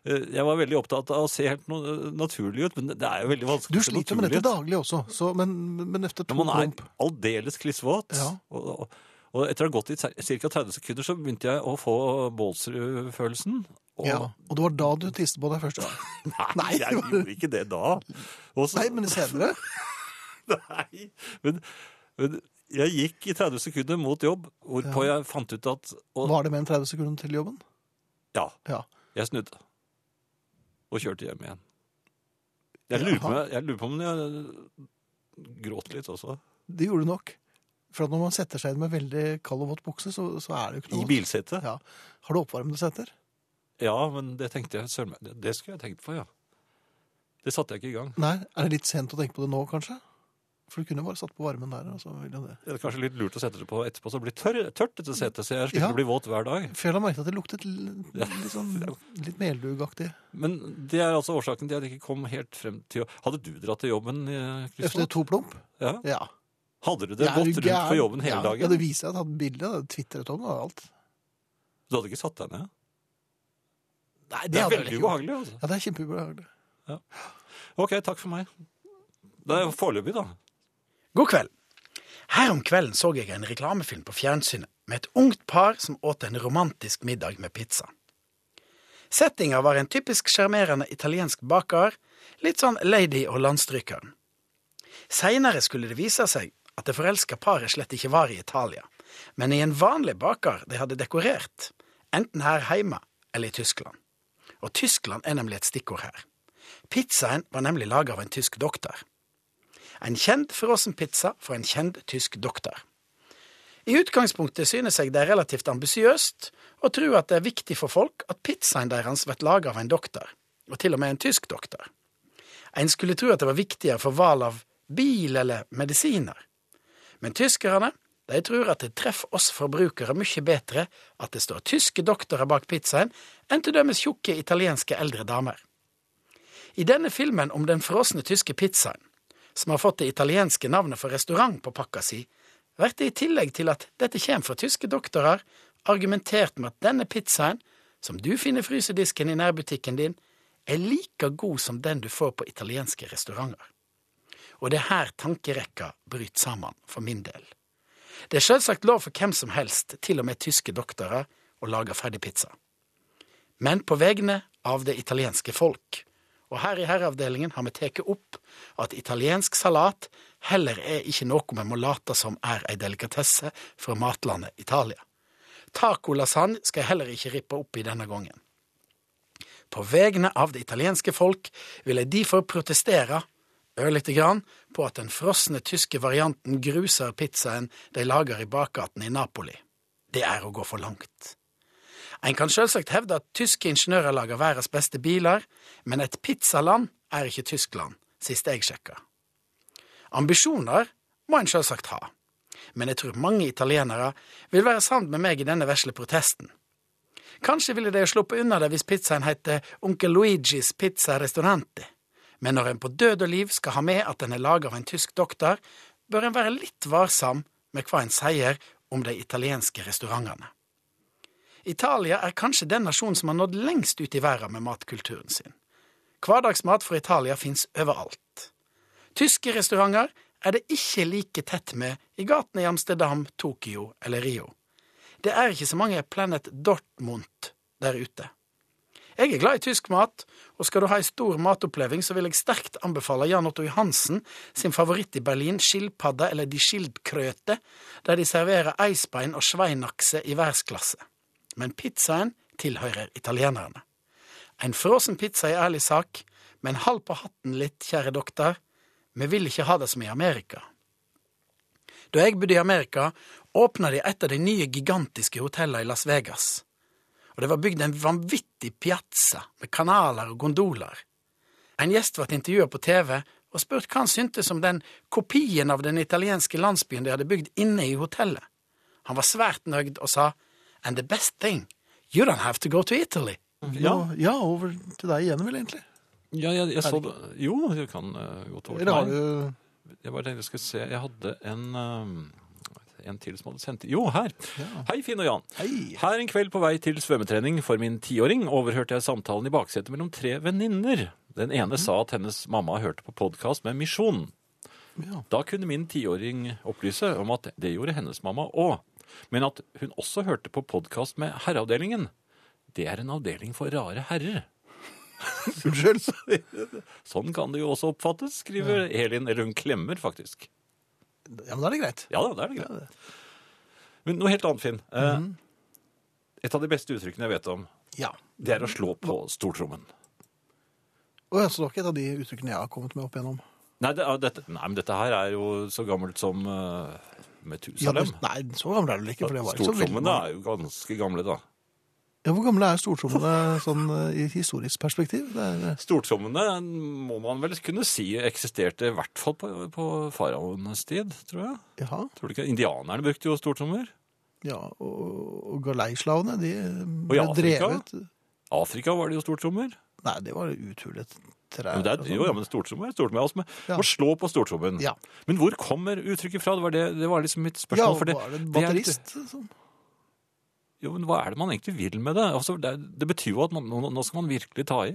eh, jeg var veldig opptatt av å se helt no, naturlig ut, men det er jo veldig vanskelig. Du å se sliter jo med naturlig dette ut. daglig også, så, men, men efter to Når man plump er aldeles klissvåt. Ja. Og, og, og etter å ha gått i ca. 30 sekunder, så begynte jeg å få Baalsrud-følelsen. Og (laughs) ja. Og det var da du tiste på deg første gang? nei, jeg gjorde ikke det da. Og så- Nei, men senere? Nei, men, men jeg gikk i 30 sekunder mot jobb, hvorpå jeg fant ut at og, Var det med en 30 sekunder til jobben? Ja, Ja. jeg snudde. Og kjørte hjem igjen. Jeg lurer på, Jaha. jeg lurer på om jeg gråt litt også. Det gjorde du nok. For at når man setter seg inn med veldig kald og våt bukse, så, så er det jo ikke I noe bilsetet. Ja. Har du oppvarmede setter? Ja, men det tenkte jeg søren meg. Det, det skulle jeg tenkt på, ja. Det satte jeg ikke i gang. Nei, er det litt sent å tenke på det nå, kanskje? For du kunne bare satt på varmen der. og så ville det. Det er kanskje litt lurt å sette det på etterpå, så det blir tørr, tørt dette setet, så jeg slipper Ja. å bli våt hver dag. For jeg la merke til at det luktet l- litt, (laughs) sånn, litt meldugaktig. Men det er altså årsaken til at jeg ikke kom helt frem til jobb. Hadde du dratt til jobben, eh, Efter Kristian? to plump? Ja. Ja. Hadde du det Jeg er jo gått rundt gæren. på jobben hele ja. Ja, dagen? det viser jeg at jeg hadde bilde. jeg hadde Twitteret om det og alt. Du hadde ikke satt deg ned? Nei, hadde Det er jeg vel veldig ikke gjort. ubehagelig, altså. Ja, det er kjempeubehagelig. Ok, takk for meg. Det er foreløpig, da. God kveld. Her om kvelden så jeg en reklamefilm på fjernsynet med et ungt par som åt en romantisk middag med pizza. Settinga var en typisk sjarmerende italiensk baker, litt sånn lady og landstrykeren. Seinere skulle det vise seg at det forelska paret slett ikke var i Italia, men i en vanlig baker de hadde dekorert, enten her hjemme eller i Tyskland. Og Tyskland er nemlig et stikkord her. Pizzaen var nemlig laga av en tysk doktor. En kjent frossenpizza fra en kjent tysk doktor. I utgangspunktet synes jeg det er relativt ambisiøst å tro at det er viktig for folk at pizzaen deres blir laget av en doktor, og til og med en tysk doktor. En skulle tro at det var viktigere for valg av bil eller medisiner. Men tyskerne de tror at det treffer oss forbrukere mye bedre at det står tyske doktorer bak pizzaen enn til dømes tjukke italienske eldre damer. I denne filmen om den frosne tyske pizzaen, som har fått det italienske navnet for restaurant på pakka si, blir det i tillegg til at dette kommer fra tyske doktorer, argumentert med at denne pizzaen, som du finner i frysedisken i nærbutikken din, er like god som den du får på italienske restauranter. Og det er her tankerekka bryter sammen, for min del. Det er selvsagt lov for hvem som helst, til og med tyske doktorer, å lage ferdig pizza. Men på vegne av det italienske folk. Og her i herreavdelingen har vi tatt opp at italiensk salat heller er ikke noe vi må late som er ei delikatesse fra matlandet Italia. Tacolasagne skal jeg heller ikke rippe opp i denne gangen. På vegne av det italienske folk vil jeg derfor protestere ørlite grann på at den frosne tyske varianten gruser pizzaen de lager i bakgaten i Napoli. Det er å gå for langt. En kan selvsagt hevde at tyske ingeniører lager verdens beste biler, men et pizzaland er ikke Tyskland, sist jeg sjekka. Ambisjoner må en selvsagt ha, men jeg tror mange italienere vil være sammen med meg i denne vesle protesten. Kanskje ville de sluppet unna det hvis pizzaen heter Onkel Luigis Pizza Restaurante. Men når en på død og liv skal ha med at den er laget av en tysk doktor, bør en være litt varsam med hva en sier om de italienske restaurantene. Italia er kanskje den nasjonen som har nådd lengst ut i verden med matkulturen sin. Hverdagsmat fra Italia fins overalt. Tyske restauranter er det ikke like tett med i gatene i Amsterdam, Tokyo eller Rio. Det er ikke så mange Planet Dortmund der ute. Jeg er glad i tysk mat, og skal du ha ei stor matoppleving, så vil jeg sterkt anbefale Jan Otto Johansen sin favoritt i Berlin, skilpadda eller de skildkrøte, der de serverer eisbein og sveinakse i verdensklasse. Men pizzaen tilhører italienerne. En frossen pizza i ærlig sak, men halv på hatten litt, kjære doktor, vi vil ikke ha det som i Amerika. Da jeg bodde i Amerika, åpna de et av de nye gigantiske hotellene i Las Vegas. Og det var bygd en vanvittig piazza med kanaler og gondoler. En gjest ble intervjua på TV og spurt hva han syntes om den kopien av den italienske landsbyen de hadde bygd inne i hotellet. Han var svært nøyd og sa And the best thing, you don't have to go to Italy. Ja. ja, over til deg igjen, vel, egentlig. Ja, jeg, jeg så det. Jo, du kan eh, gå til Eller har overtid. du Jeg bare tenkte jeg skulle se. Jeg hadde en, eh, en til som hadde sendt Jo, her. Hei, Finn og Jan. Hei! Her en kveld på vei til svømmetrening for min tiåring overhørte jeg samtalen i baksetet mellom tre venninner. Den ene Mm. sa at hennes mamma hørte på podkast med Misjon. Ja. Da kunne min tiåring opplyse om at det gjorde hennes mamma òg. Men at hun også hørte på podkast med Herreavdelingen. Det er en avdeling for rare herrer. (laughs) Unnskyld. Sånn kan det jo også oppfattes, skriver Elin. Eller hun klemmer, faktisk. Ja, men da er det Mhm. greit. Ja da, det er det greit. Men noe helt annet, Finn. Eh, Et av de beste uttrykkene jeg vet om, Ja. det er å slå på stortrommen. Og jeg så nok et av de uttrykkene jeg har kommet med opp igjennom. Nei, det, er- dette, nei, men dette her er jo så gammelt som uh, Ja, Metusalem. men, nei, så gammel er du vel ikke, for det var ikke så veldig Stortrommene er jo ganske gamle, da. Ja, Hvor gamle er stortrommene sånn eh, i historisk perspektiv? Det er, eh, Stortrommene må man vel kunne si eksisterte i hvert fall på, på faraonenes tid, tror jeg. jaha. Tror du ikke? Indianerne brukte jo stortrommer. Ja, og, og galeislavene, de eh, Og i ble Afrika? drevet Afrika var det jo stortrommer. Nei, det var uthullet trær. Men og det er, sånn. jo, ja, men stortrommer er stortrommer. Altså, men, Ja. Må slå på stortrommen. Ja. Men hvor kommer uttrykket fra? Det var, det, det var liksom mitt Ja, spørsmål. for det, var det en sånn? er- batterist? som- jo, men hva er det man egentlig vil med det? Altså, det, er- det betyr jo at man, nå, nå skal man virkelig ta i.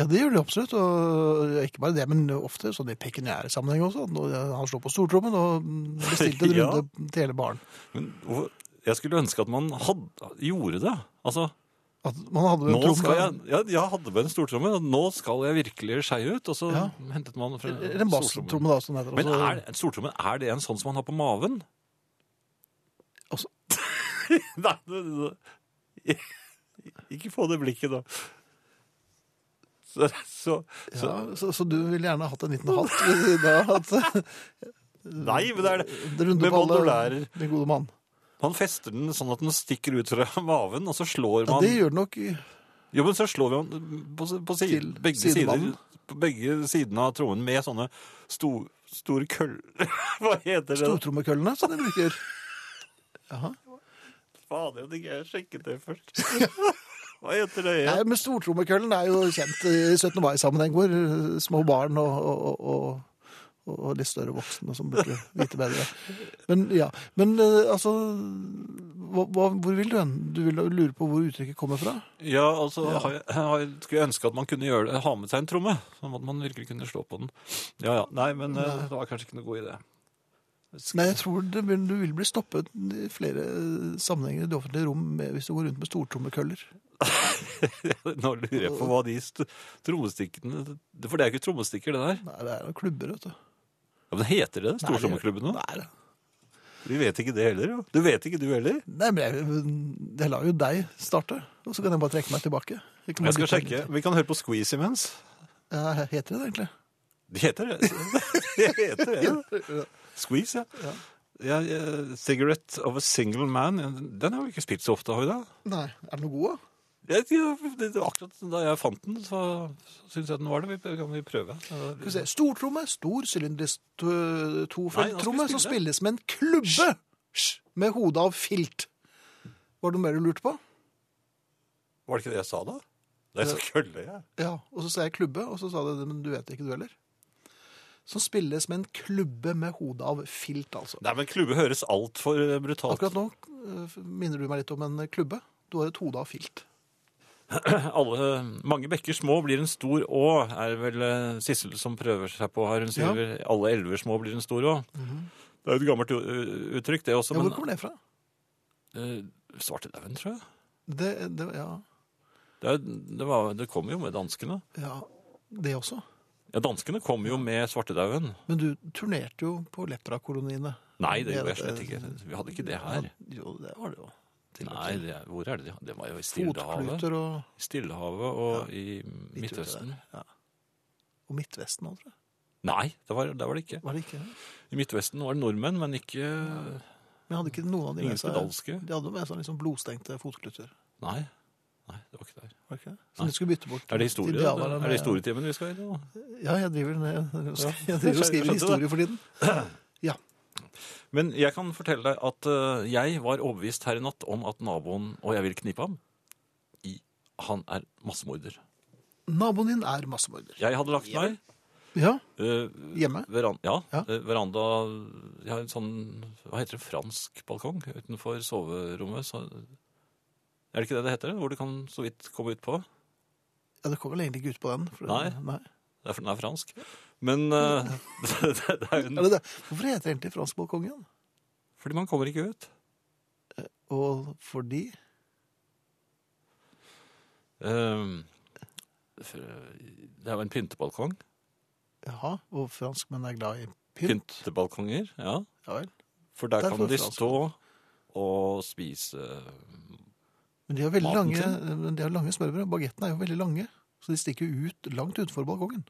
Ja, det gjør de absolutt. Og ikke bare det, men ofte sånn i pekuniære sammenheng også. Nå- Han slår på stortrommen og bestilte en (laughs) Ja. runde til hele baren. Men hvor- jeg skulle ønske at man hadde, gjorde det. Altså, At man hadde en nå tromme- skal jeg, jeg, jeg hadde med en stortromme, og nå skal jeg virkelig skeie ut. Og så Ja. hentet man fra Eller en basstromme, da, som det heter. Altså, Men også. er, stortrommen, er det en sånn som man har på maven? Altså- (laughs) Nei, det- det- (laughs) ikke få det blikket, da. Så, så, så ja, så, så du ville gjerne hatt en liten hatt (laughs) ved siden av? At, Nei, men det er det. runde Med på alle, mandolærer. min gode mann. Man fester den sånn at den stikker ut fra (laughs) maven, og så slår Ja, man det gjør det nok. Jo, men så slår man på, på siden, Til begge, sider, sidemannen. på begge sidene av trommen med sånne sto, store køller (laughs) Hva heter det? Stortrommekøllene som de (laughs) bruker. Jaha. Fader, jeg tenker jeg sjekket det først. (laughs) Hva heter det? Nei, igjen? men stortrommekøllen er jo kjent i 17. mai-sammenheng, hvor eh, små barn og, og, og, og, og litt større voksne som burde vite bedre. Men ja, men eh, altså hva, hva, Hvor vil du hen? Du vil lure på hvor uttrykket kommer fra? Ja, altså, Har jeg, har jeg, skulle jeg ønske at man kunne gjøre det, ha med seg en (laughs) tromme. Sånn at man virkelig kunne slå på den. Ja, ja. Nei, men eh, det var kanskje ikke noe god idé. Men jeg tror det, vil- du vil bli stoppet i flere eh, sammenhenger i det offentlige rom med, hvis du går rundt med stortrommekøller. Nå lurer jeg på hva de st- trommestikkene For det er jo ikke trommestikker, det der. Nei, det er jo klubber, vet du. Ja, men Heter det det? Stortrommeklubben nå? Nei, det- Vi vet ikke det heller. jo. Det vet ikke du heller. Nei, men jeg, jeg lar jo deg starte, og så kan jeg bare trekke meg tilbake. Jeg, kan Jeg bare skal bytte- sjekke. Vi kan høre på Squeeze imens. Ja, heter det det egentlig? Det heter det. (laughs) Det heter det. Squeeze, ja. ja. ja, 'Cigarette of a Single Man' den har vi ikke spilt så ofte, har vi det? Nei, er den noe god? da? Jeg, jeg, det- akkurat da jeg fant den, så syns jeg den var det. Vi kan vi prøve. Skal vi se. Stortromme, stor sylindrisk to- Nei, nå skal vi tofelttromme, som spille. spilles med en klubbe med hodet av filt. Var det noe mer du lurte på? Var det ikke det jeg sa da? Det er så kølle, jeg. Ja, og så sa jeg klubbe, og så sa du men du vet ikke du heller. Som spilles med en klubbe med hodet av filt, altså. Nei, men klubbe høres altfor brutalt. Akkurat nå eh, minner du meg litt om en klubbe. Du har et hode av filt. Alle, mange bekker små blir en stor å, er vel eh, Sissel som prøver seg på her. Hun sier Ja. vel, alle elver små blir en stor å. Det er jo et gammelt u- u- uttrykk, det også. Ja, hvor Men kommer det fra? uh, svartedauden, tror jeg. Det, det, ja, Det, er- det, var- det kom jo med danskene. ja, det også. Ja, danskene kom jo med svartedauden. Men du turnerte jo på leprakoloniene. Nei, det gjorde Med jeg slett ikke. Vi hadde ikke det her. Jo, det var det jo. Til og Nei, til. det, er- hvor er det? de- Det var jo i Stillehavet. Fotkluter og, Stillehavet og i Midtøsten. og Midtvesten òg, tror jeg. Nei, det var, der var det ikke. Var det ikke? det? I Midtvesten var det nordmenn, men ikke Men hadde ikke noen av de Ingen spedalske? De hadde jo med seg liksom blodstengte fotkluter. Nei. Nei, det var ikke der. Var det ikke det? Som de skulle bytte bort. Er det historie? til indianerne Er med- det historietimen vi skal i nå? Ja, jeg driver, ned, (laughs) jeg driver og skriver Skjønte det. historie for tiden. Ja. Men jeg kan fortelle deg at eh, jeg var overbevist her i natt om at naboen og jeg vil knipe ham. I, han er massemorder. Naboen din er massemorder. Jeg hadde lagt meg Ja, eh, hjemme. veran ja, Ja. eh, veranda Jeg har en sånn Hva heter det? Fransk balkong utenfor soverommet. Så, er det ikke det det heter? Hvor du kan så vidt komme ut på? Ja, det kom vel egentlig ikke ut på den. for- Nei. Det er fordi den er fransk. Men eh, (laughs) det, det er Er jo en, det det? Hvorfor heter det egentlig fransk balkong igjen? Fordi man kommer ikke ut. Og fordi Ehm, for, det er jo en pyntebalkong. Jaha, og franskmenn er glad i pynt. Pyntebalkonger, ja. Ja vel. For der Derfor kan de fransk. stå og spise Men de har veldig Maten lange, men de har lange smørbrød. Bagettene er jo veldig lange. Så de stikker jo ut langt utenfor balkongen.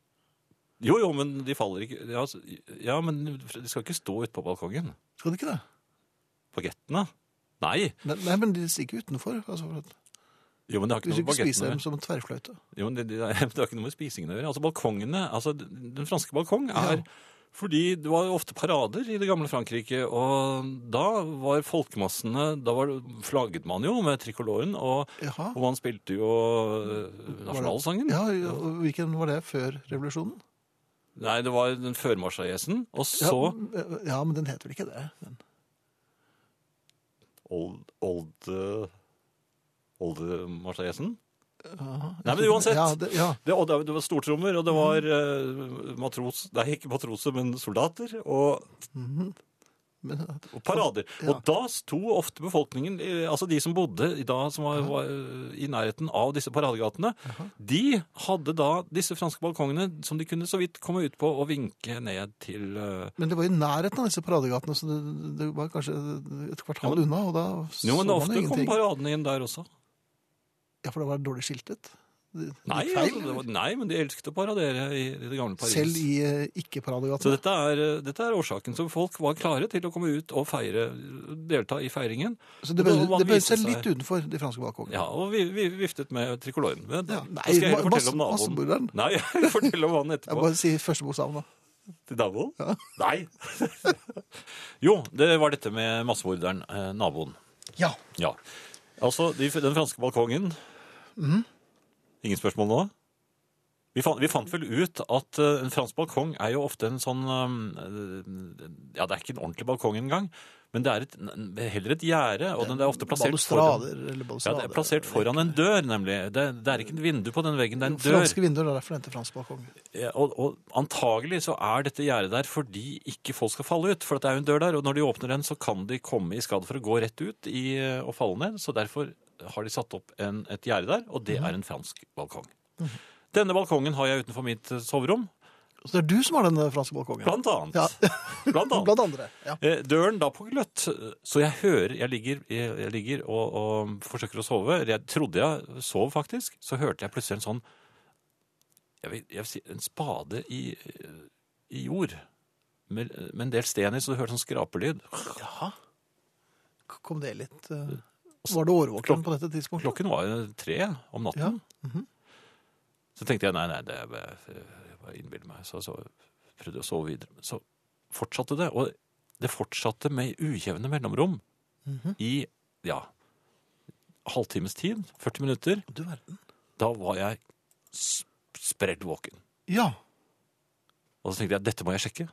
Jo, jo, men de faller ikke Ja, altså, ja men de skal ikke stå ute på balkongen. Skal de ikke det? Bagettene? Nei! Nei, nei men de stikker utenfor. Altså, for at, Jo, men det har ikke hvis du noe med ikke spiser bagettene dem å gjøre. som en tverrfløyte. Jo, men det, (laughs) det, det har ikke noe med spisingen å gjøre. Altså, balkongene altså, Den franske balkong Ja. er Fordi det var ofte parader i det gamle Frankrike, og da var folkemassene Da var, flagget man jo med trikoloren, og, Jaha. og man spilte jo øh, nasjonalsangen. Ja, og Hvilken var det før revolusjonen? Nei, det var den førmarsjajesen, og Ja, så ja, men den heter vel ikke det? Den. Old, old, eh, old Marseillaisen. Jaha. Nei, men uansett. Ja, det, ja. Det, og det, det var stortrommer, og det var Mm. eh, matros... Nei, ikke matroser, men soldater. Og, Men, og parader. Ja. Og da sto ofte befolkningen, eh, altså de som bodde i, da, som var, var eh, i nærheten av disse paradegatene, de hadde da disse franske balkongene som de kunne så vidt komme ut på og vinke ned til eh, men det var i nærheten av disse paradegatene, så det, det var kanskje et kvartal unna, og da så Jo, men man jo ofte kom ingenting. paradene inn der også. Ja, for det var dårlig skiltet. Det- det Nei, gikk feil, altså, det var, nei men de elsket å paradere i, i det gamle Paris. Selv i eh, Så ikke-paradegatene. dette er, eh, dette er årsaken. Så folk var klare til å komme ut og feire, delta i feiringen. Så det Og da- og man bøyde viste seg litt utenfor de franske balkongene. Ja, og vi, vi viftet med trikoloren. Men Ja, da nei, skal jeg ma- heller fortelle om masse- naboen. massemorderen. Nei, jeg vil fortelle (laughs) om han Jeg etterpå. bare si første bokstaven, da. Til naboen? Nei. (laughs) Jo, det var dette med massemorderen, eh, naboen. Ja. Ja. Altså, de, den franske balkongen Mhm. Ingen spørsmål nå? Vi fant, vi fant vel ut at eh, en fransk balkong er jo ofte en sånn eh, Ja, det er ikke en ordentlig balkong engang. Men det er et, heller et gjerde, og den er ofte plassert foran, Balustrader eller ja, balustrader. det er plassert foran en dør, nemlig. Det, det er ikke et vindu på den veggen, det er en dør. Franske vinduer, det er derfor det heter fransk balkong. Ja, og, og antagelig så er dette gjerdet der fordi ikke folk skal falle ut. For at det er jo en dør der, og når de åpner den, så kan de komme i skade for å gå rett ut i, eh, og falle ned. Så derfor har de satt opp en, et gjerde der, og det er en fransk balkong. Mhm. Denne balkongen har jeg utenfor mitt eh, soverom, Så det er du som har den eh, franske balkongen? blant annet. Ja. (laughs) Blant annet. Blant andre. Ja. Eh, Døren da på gløtt, så jeg hører Jeg ligger, jeg, jeg ligger og, og forsøker å sove. Jeg trodde jeg sov, faktisk. Så hørte jeg plutselig en sånn Jeg vil, jeg vil si en spade i, i jord. Med, med en del sten i, så du hørte sånn skrapelyd. Jaha. K- Kom det litt eh, Var det årvåken på dette tidspunktet? Klokken var jo tre om natten. Ja. mhm. Så tenkte jeg nei, nei, det er bare, jeg bare innbiller meg. Så, så prøvde jeg å sove videre. Men så fortsatte det, og det fortsatte med ujevne mellomrom Mhm. i ja, halvtimes tid, 40 minutter. Du verden. Da var jeg sp- spredd våken. Ja. Og så tenkte jeg dette må jeg sjekke.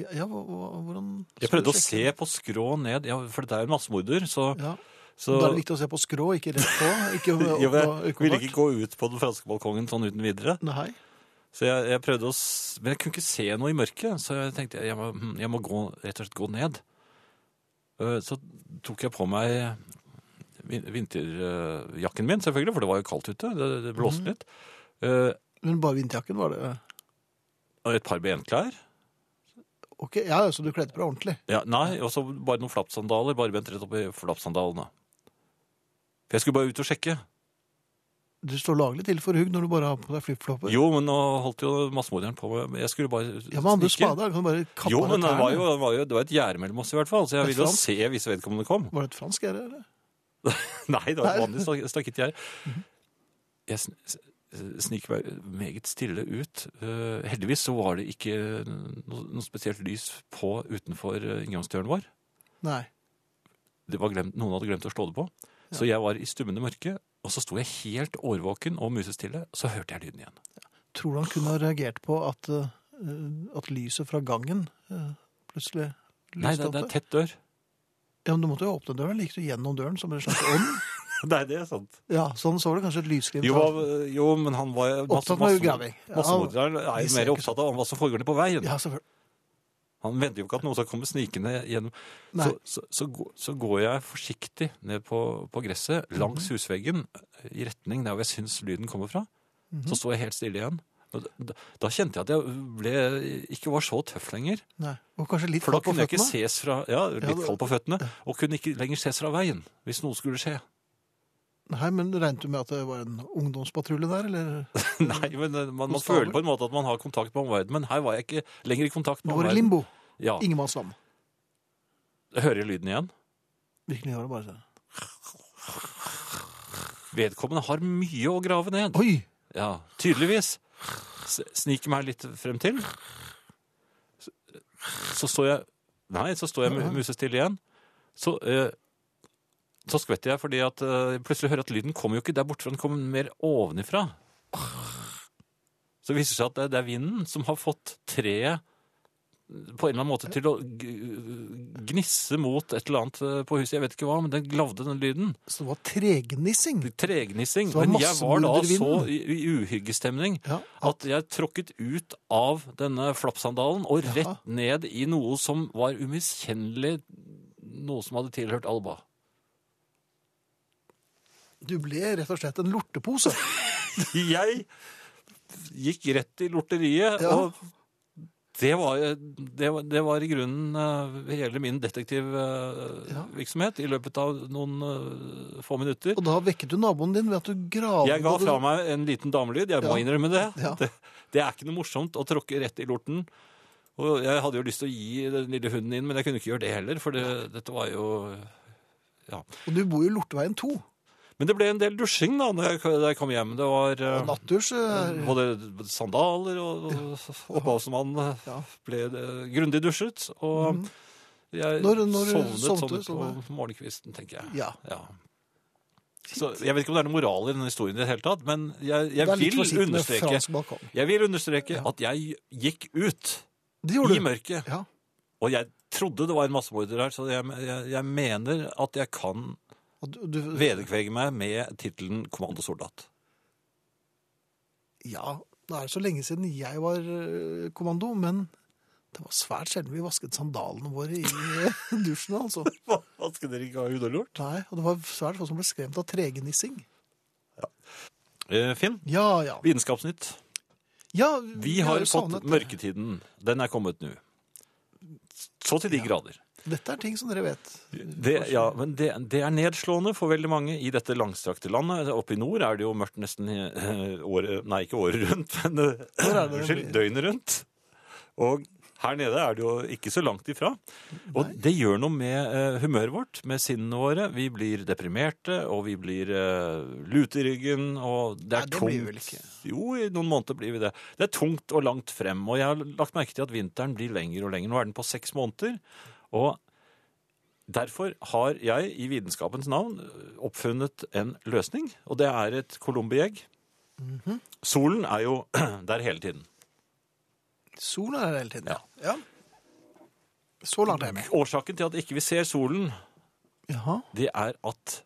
ja, ja hva, hva- hvordan Jeg prøvde å se på skrå ned, ja, for det er jo en massemorder. Så, Ja. så Da er det viktig å se på skrå, ikke rett på. (laughs) Ikke opp jeg, jeg ville øyekobart. ikke gå ut på den franske balkongen sånn uten videre. Nei. Så jeg, jeg prøvde å s- Men jeg kunne ikke se noe i mørket, så jeg tenkte jeg må, hm, jeg må gå, rett og slett gå ned. Eh, Så tok jeg på meg vin- vinterjakken min, selvfølgelig, for det var jo kaldt ute. Det, det blåste Mhm. litt. Eh, Men bare vinterjakken var det Og et par benklær. Ok, ja, så du kledde på deg ordentlig. Ja, nei, og så bare noen flappsandaler. Barbent rett opp i flappsandalene. For jeg skulle bare ut og sjekke. Du står laglig til for hugg når du bare har på deg flipflopper. Jo, men nå holdt jo massemorderen på med Jeg skulle bare Ja, men andre snike. spader kan du bare kappe Jo, av men det tærne. var jo, det var jo det var et gjerde mellom oss, i hvert fall. Så jeg Et ville jo fransk- se hvis vedkommende kom. Var det et fransk gjerde, eller? (laughs) Nei, det Nei. var Mhm. et vanlig stak- stakittgjær. Jeg sn- s- sniker meg meget stille ut. Eh, heldigvis så var det ikke noe, noe spesielt lys på utenfor eh, inngangsdøren vår. Nei. Det var glemt, noen hadde glemt å slå det på. Så jeg var i stummende mørke, og så sto jeg helt årvåken og musestille, så hørte jeg lyden igjen. Tror du han kunne ha reagert på at, eh, at lyset fra gangen eh, plutselig Nei, lyste det, opp? det er der? tett dør. Ja, men du måtte jo åpne døren. Gikk du gjennom døren som en slags (laughs) ånd? (laughs) Nei, det er sant. Ja, sånn så var det kanskje et lysglimt. Jo, av- hva- jo men han var Opptatt med graving. Ja, Massemorderen er vi jo ser mer ikke opptatt av hva som foregår nede på veien. Ja, selvfølgelig. Han venter jo ikke at noen skal komme snikende gjennom. Nei. Så, så, så, gå- så går jeg forsiktig ned på, på gresset, Mhm. langs husveggen, i retning der hvor jeg syns lyden kommer fra. Mhm. Så står jeg helt stille igjen. Og Da, da kjente jeg at jeg ble, ikke var så tøff lenger. Nei. Og kanskje litt For da kald på kunne jeg ikke føttene? ses fra Ja, litt det- kald på føttene. Og kunne ikke lenger ses fra veien hvis noe skulle (laughs) skje. Nei, men regnet du med at det var en ungdomspatrulje der, (laughs) eller? Nei, men eh, man, man Konstabel. føler på en måte at man har kontakt med omverdenen. Men her var jeg ikke lenger i kontakt Du med var i omverdenen. limbo. Ja, Ingemannsland. Hører jeg lyden igjen? Virkelig var det bare sånn. Vedkommende har mye å grave ned. Oi! Ja, tydeligvis. S sniker meg litt frem til. Så- Så står jeg Nei, så står jeg mu- musestille igjen. Så, eh, så skvetter jeg fordi at eh, plutselig hører jeg at lyden kommer jo ikke der borte, for den kommer mer ovenifra. Så viser det seg at det, det er vinden som har fått treet på en eller annen måte til å g- gnisse mot et eller annet eh, på huset. Jeg vet ikke hva, men den glavde den lyden. Så det var tregnissing. Tregnissing. Så det var Men jeg var da så massemordervinden. i, i uhyggestemning Ja. at jeg tråkket ut av denne flappsandalen og rett Jaha. ned i noe som var umiskjennelig noe som hadde tilhørt Alba. Du ble rett og slett en lortepose. Jeg gikk rett i lorteriet, Ja. og det var, det, var, det var i grunnen eh, hele min Ja. detektivvirksomhet i løpet av noen eh, få minutter. Og da vekket du naboen din ved at du gravde Jeg ga du- fra meg en liten damelyd, jeg må Ja. innrømme det. Ja. det. Det er ikke noe morsomt å tråkke rett i lorten. Og jeg hadde jo lyst til å gi den lille hunden inn, men jeg kunne ikke gjøre det heller, for det, dette var jo Og du bor jo i Lorteveien 2. Men det ble en del dusjing da når jeg, da jeg kom hjem. Det var eh, Og nattdusj eh, både sandaler og og opphavsmannen eh, Ja. Mhm. ble eh, grundig dusjet. Og jeg Når- når du sovnet sovnet, sånn sovnet- på morgenkvisten, tenker jeg. Ja. Så jeg vet ikke om det er noe moral i denne historien i det hele tatt, men jeg, Det jeg er litt vil forsiktig med understreke fransk balkong. Jeg vil understreke Ja. at jeg gikk ut Det i gjorde du. mørket Ja. Og jeg trodde det var en massemorder her, så jeg, jeg, jeg mener at jeg kan Og du, du, vedkvege meg med tittelen kommandosoldat. ja, det er så lenge siden jeg var eh, kommando, men det var svært sjelden vi vasket sandalene våre i eh, (laughs) dusjen, altså. Hva skal dere ikke ha hudolort? Nei, og det var svært få som ble skremt av tregenissing. Eh, Finn, Ja, ja. Vitenskapsnytt. ja Vi har jo fått savnet- mørketiden. Den er kommet nå. Så til de grader. Dette er ting som dere vet. Det, ja, men det, det er nedslående for veldig mange i dette langstrakte landet. Oppe i nord er det jo mørkt nesten eh, året Nei, ikke året rundt, men eh, er det det unnskyld, blir? døgnet rundt. Og her nede er det jo ikke så langt ifra. Og det gjør noe med eh, humøret vårt, med sinnene våre. Vi blir deprimerte, og vi blir eh, lute i ryggen, og det Nei, er det tungt. blir vi vel ikke. Jo, i noen måneder blir vi det. Det er tungt og langt frem, og jeg har lagt merke til at vinteren blir lenger og lenger. Nå er den på seks måneder, og derfor har jeg i vitenskapens navn eh, oppfunnet en løsning, og det er et kolumbiegg. Mhm. Solen er jo (clears throat) der hele tiden. Solen er der hele tiden. Ja. ja. Så langt er jeg med. Årsaken til at ikke vi ser solen, Jaha. det er at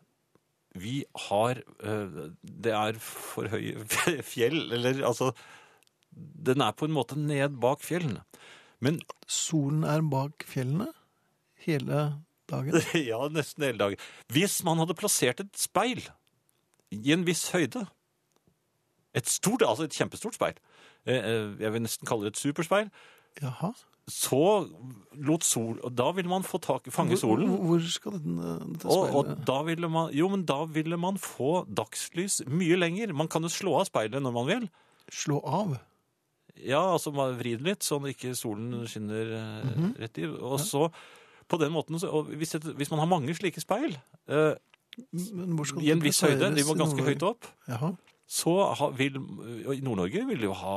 vi har øh, Det er for høye (laughs) fjell, eller altså Den er på en måte ned bak fjellene. Men Solen er bak fjellene hele dagen. (laughs) ja, nesten hele dagen. Hvis man hadde plassert et speil i en viss høyde Et stort, altså et kjempestort speil. eh, eh, Jeg vil nesten kalle det et superspeil. Jaha. Så lot sol og Da ville man få tak, fange solen. Hvor, hvor skal den, eh, dette Og, speilet og da ville man, jo, men da ville man få dagslys mye lenger. Man kan jo slå av speilet når man vil. slå av? Ja, altså man vrir det litt, sånn ikke solen skinner eh, Mhm. rett i. Og så, på den måten, så, og hvis, et, hvis man har mange slike speil eh, Men hvor skal i en viss høyde, de var ganske høyt opp, Jaha. så ha, vil og i Nord-Norge vil de jo ha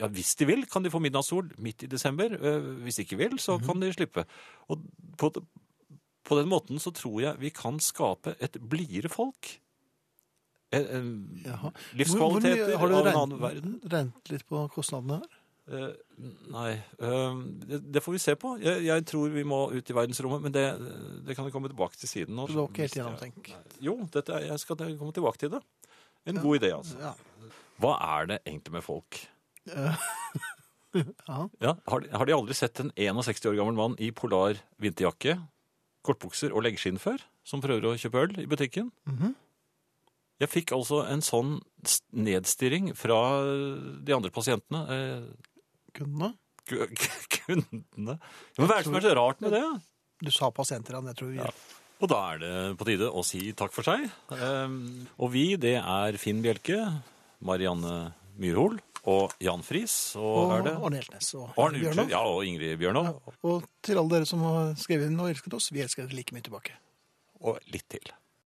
Ja, hvis de vil, kan de få middagssol midt i desember. Eh, Hvis de ikke vil, så kan de slippe. Og på, på den måten så tror jeg vi kan skape et blidere folk. Eh, En, en Jaha. Hvor- hvor mye- livskvaliteter har du av en regnet- annen verden. Regnet litt på kostnadene her? Eh, nei eh, det, det får vi se på. Jeg, jeg tror vi må ut i verdensrommet, men det, det kan vi komme tilbake til siden. nå. Det var ikke helt Hvis jeg- gjennomtenkt. Jo, dette, er- jeg skal komme tilbake til det. En god idé, altså. Ja. Hva er det egentlig med folk? Eh, ja. Ja, har, de- har de aldri sett en 61 år gammel mann i polar vinterjakke, kortbukser og leggskinn før, som prøver å kjøpe øl i butikken? Mhm. Jeg fikk altså en sånn s- nedstirring fra de andre pasientene, eh, Kundene? ku- kundene. Men hva er det som er så rart med det? Du sa pasienter, Anne. Jeg tror vi Ja. Og da er det på tide å si takk for seg. Eh, og vi, det er Finn Bjelke, Marianne Myrhol og Jan Friis. Og, er det? Arne Hjeltnes og Arne Bjørnov. Utsjø, ja, og Ingrid Bjørnov. Og til alle dere som har skrevet inn og elsket oss, vi elsker dere like mye tilbake. Og litt til.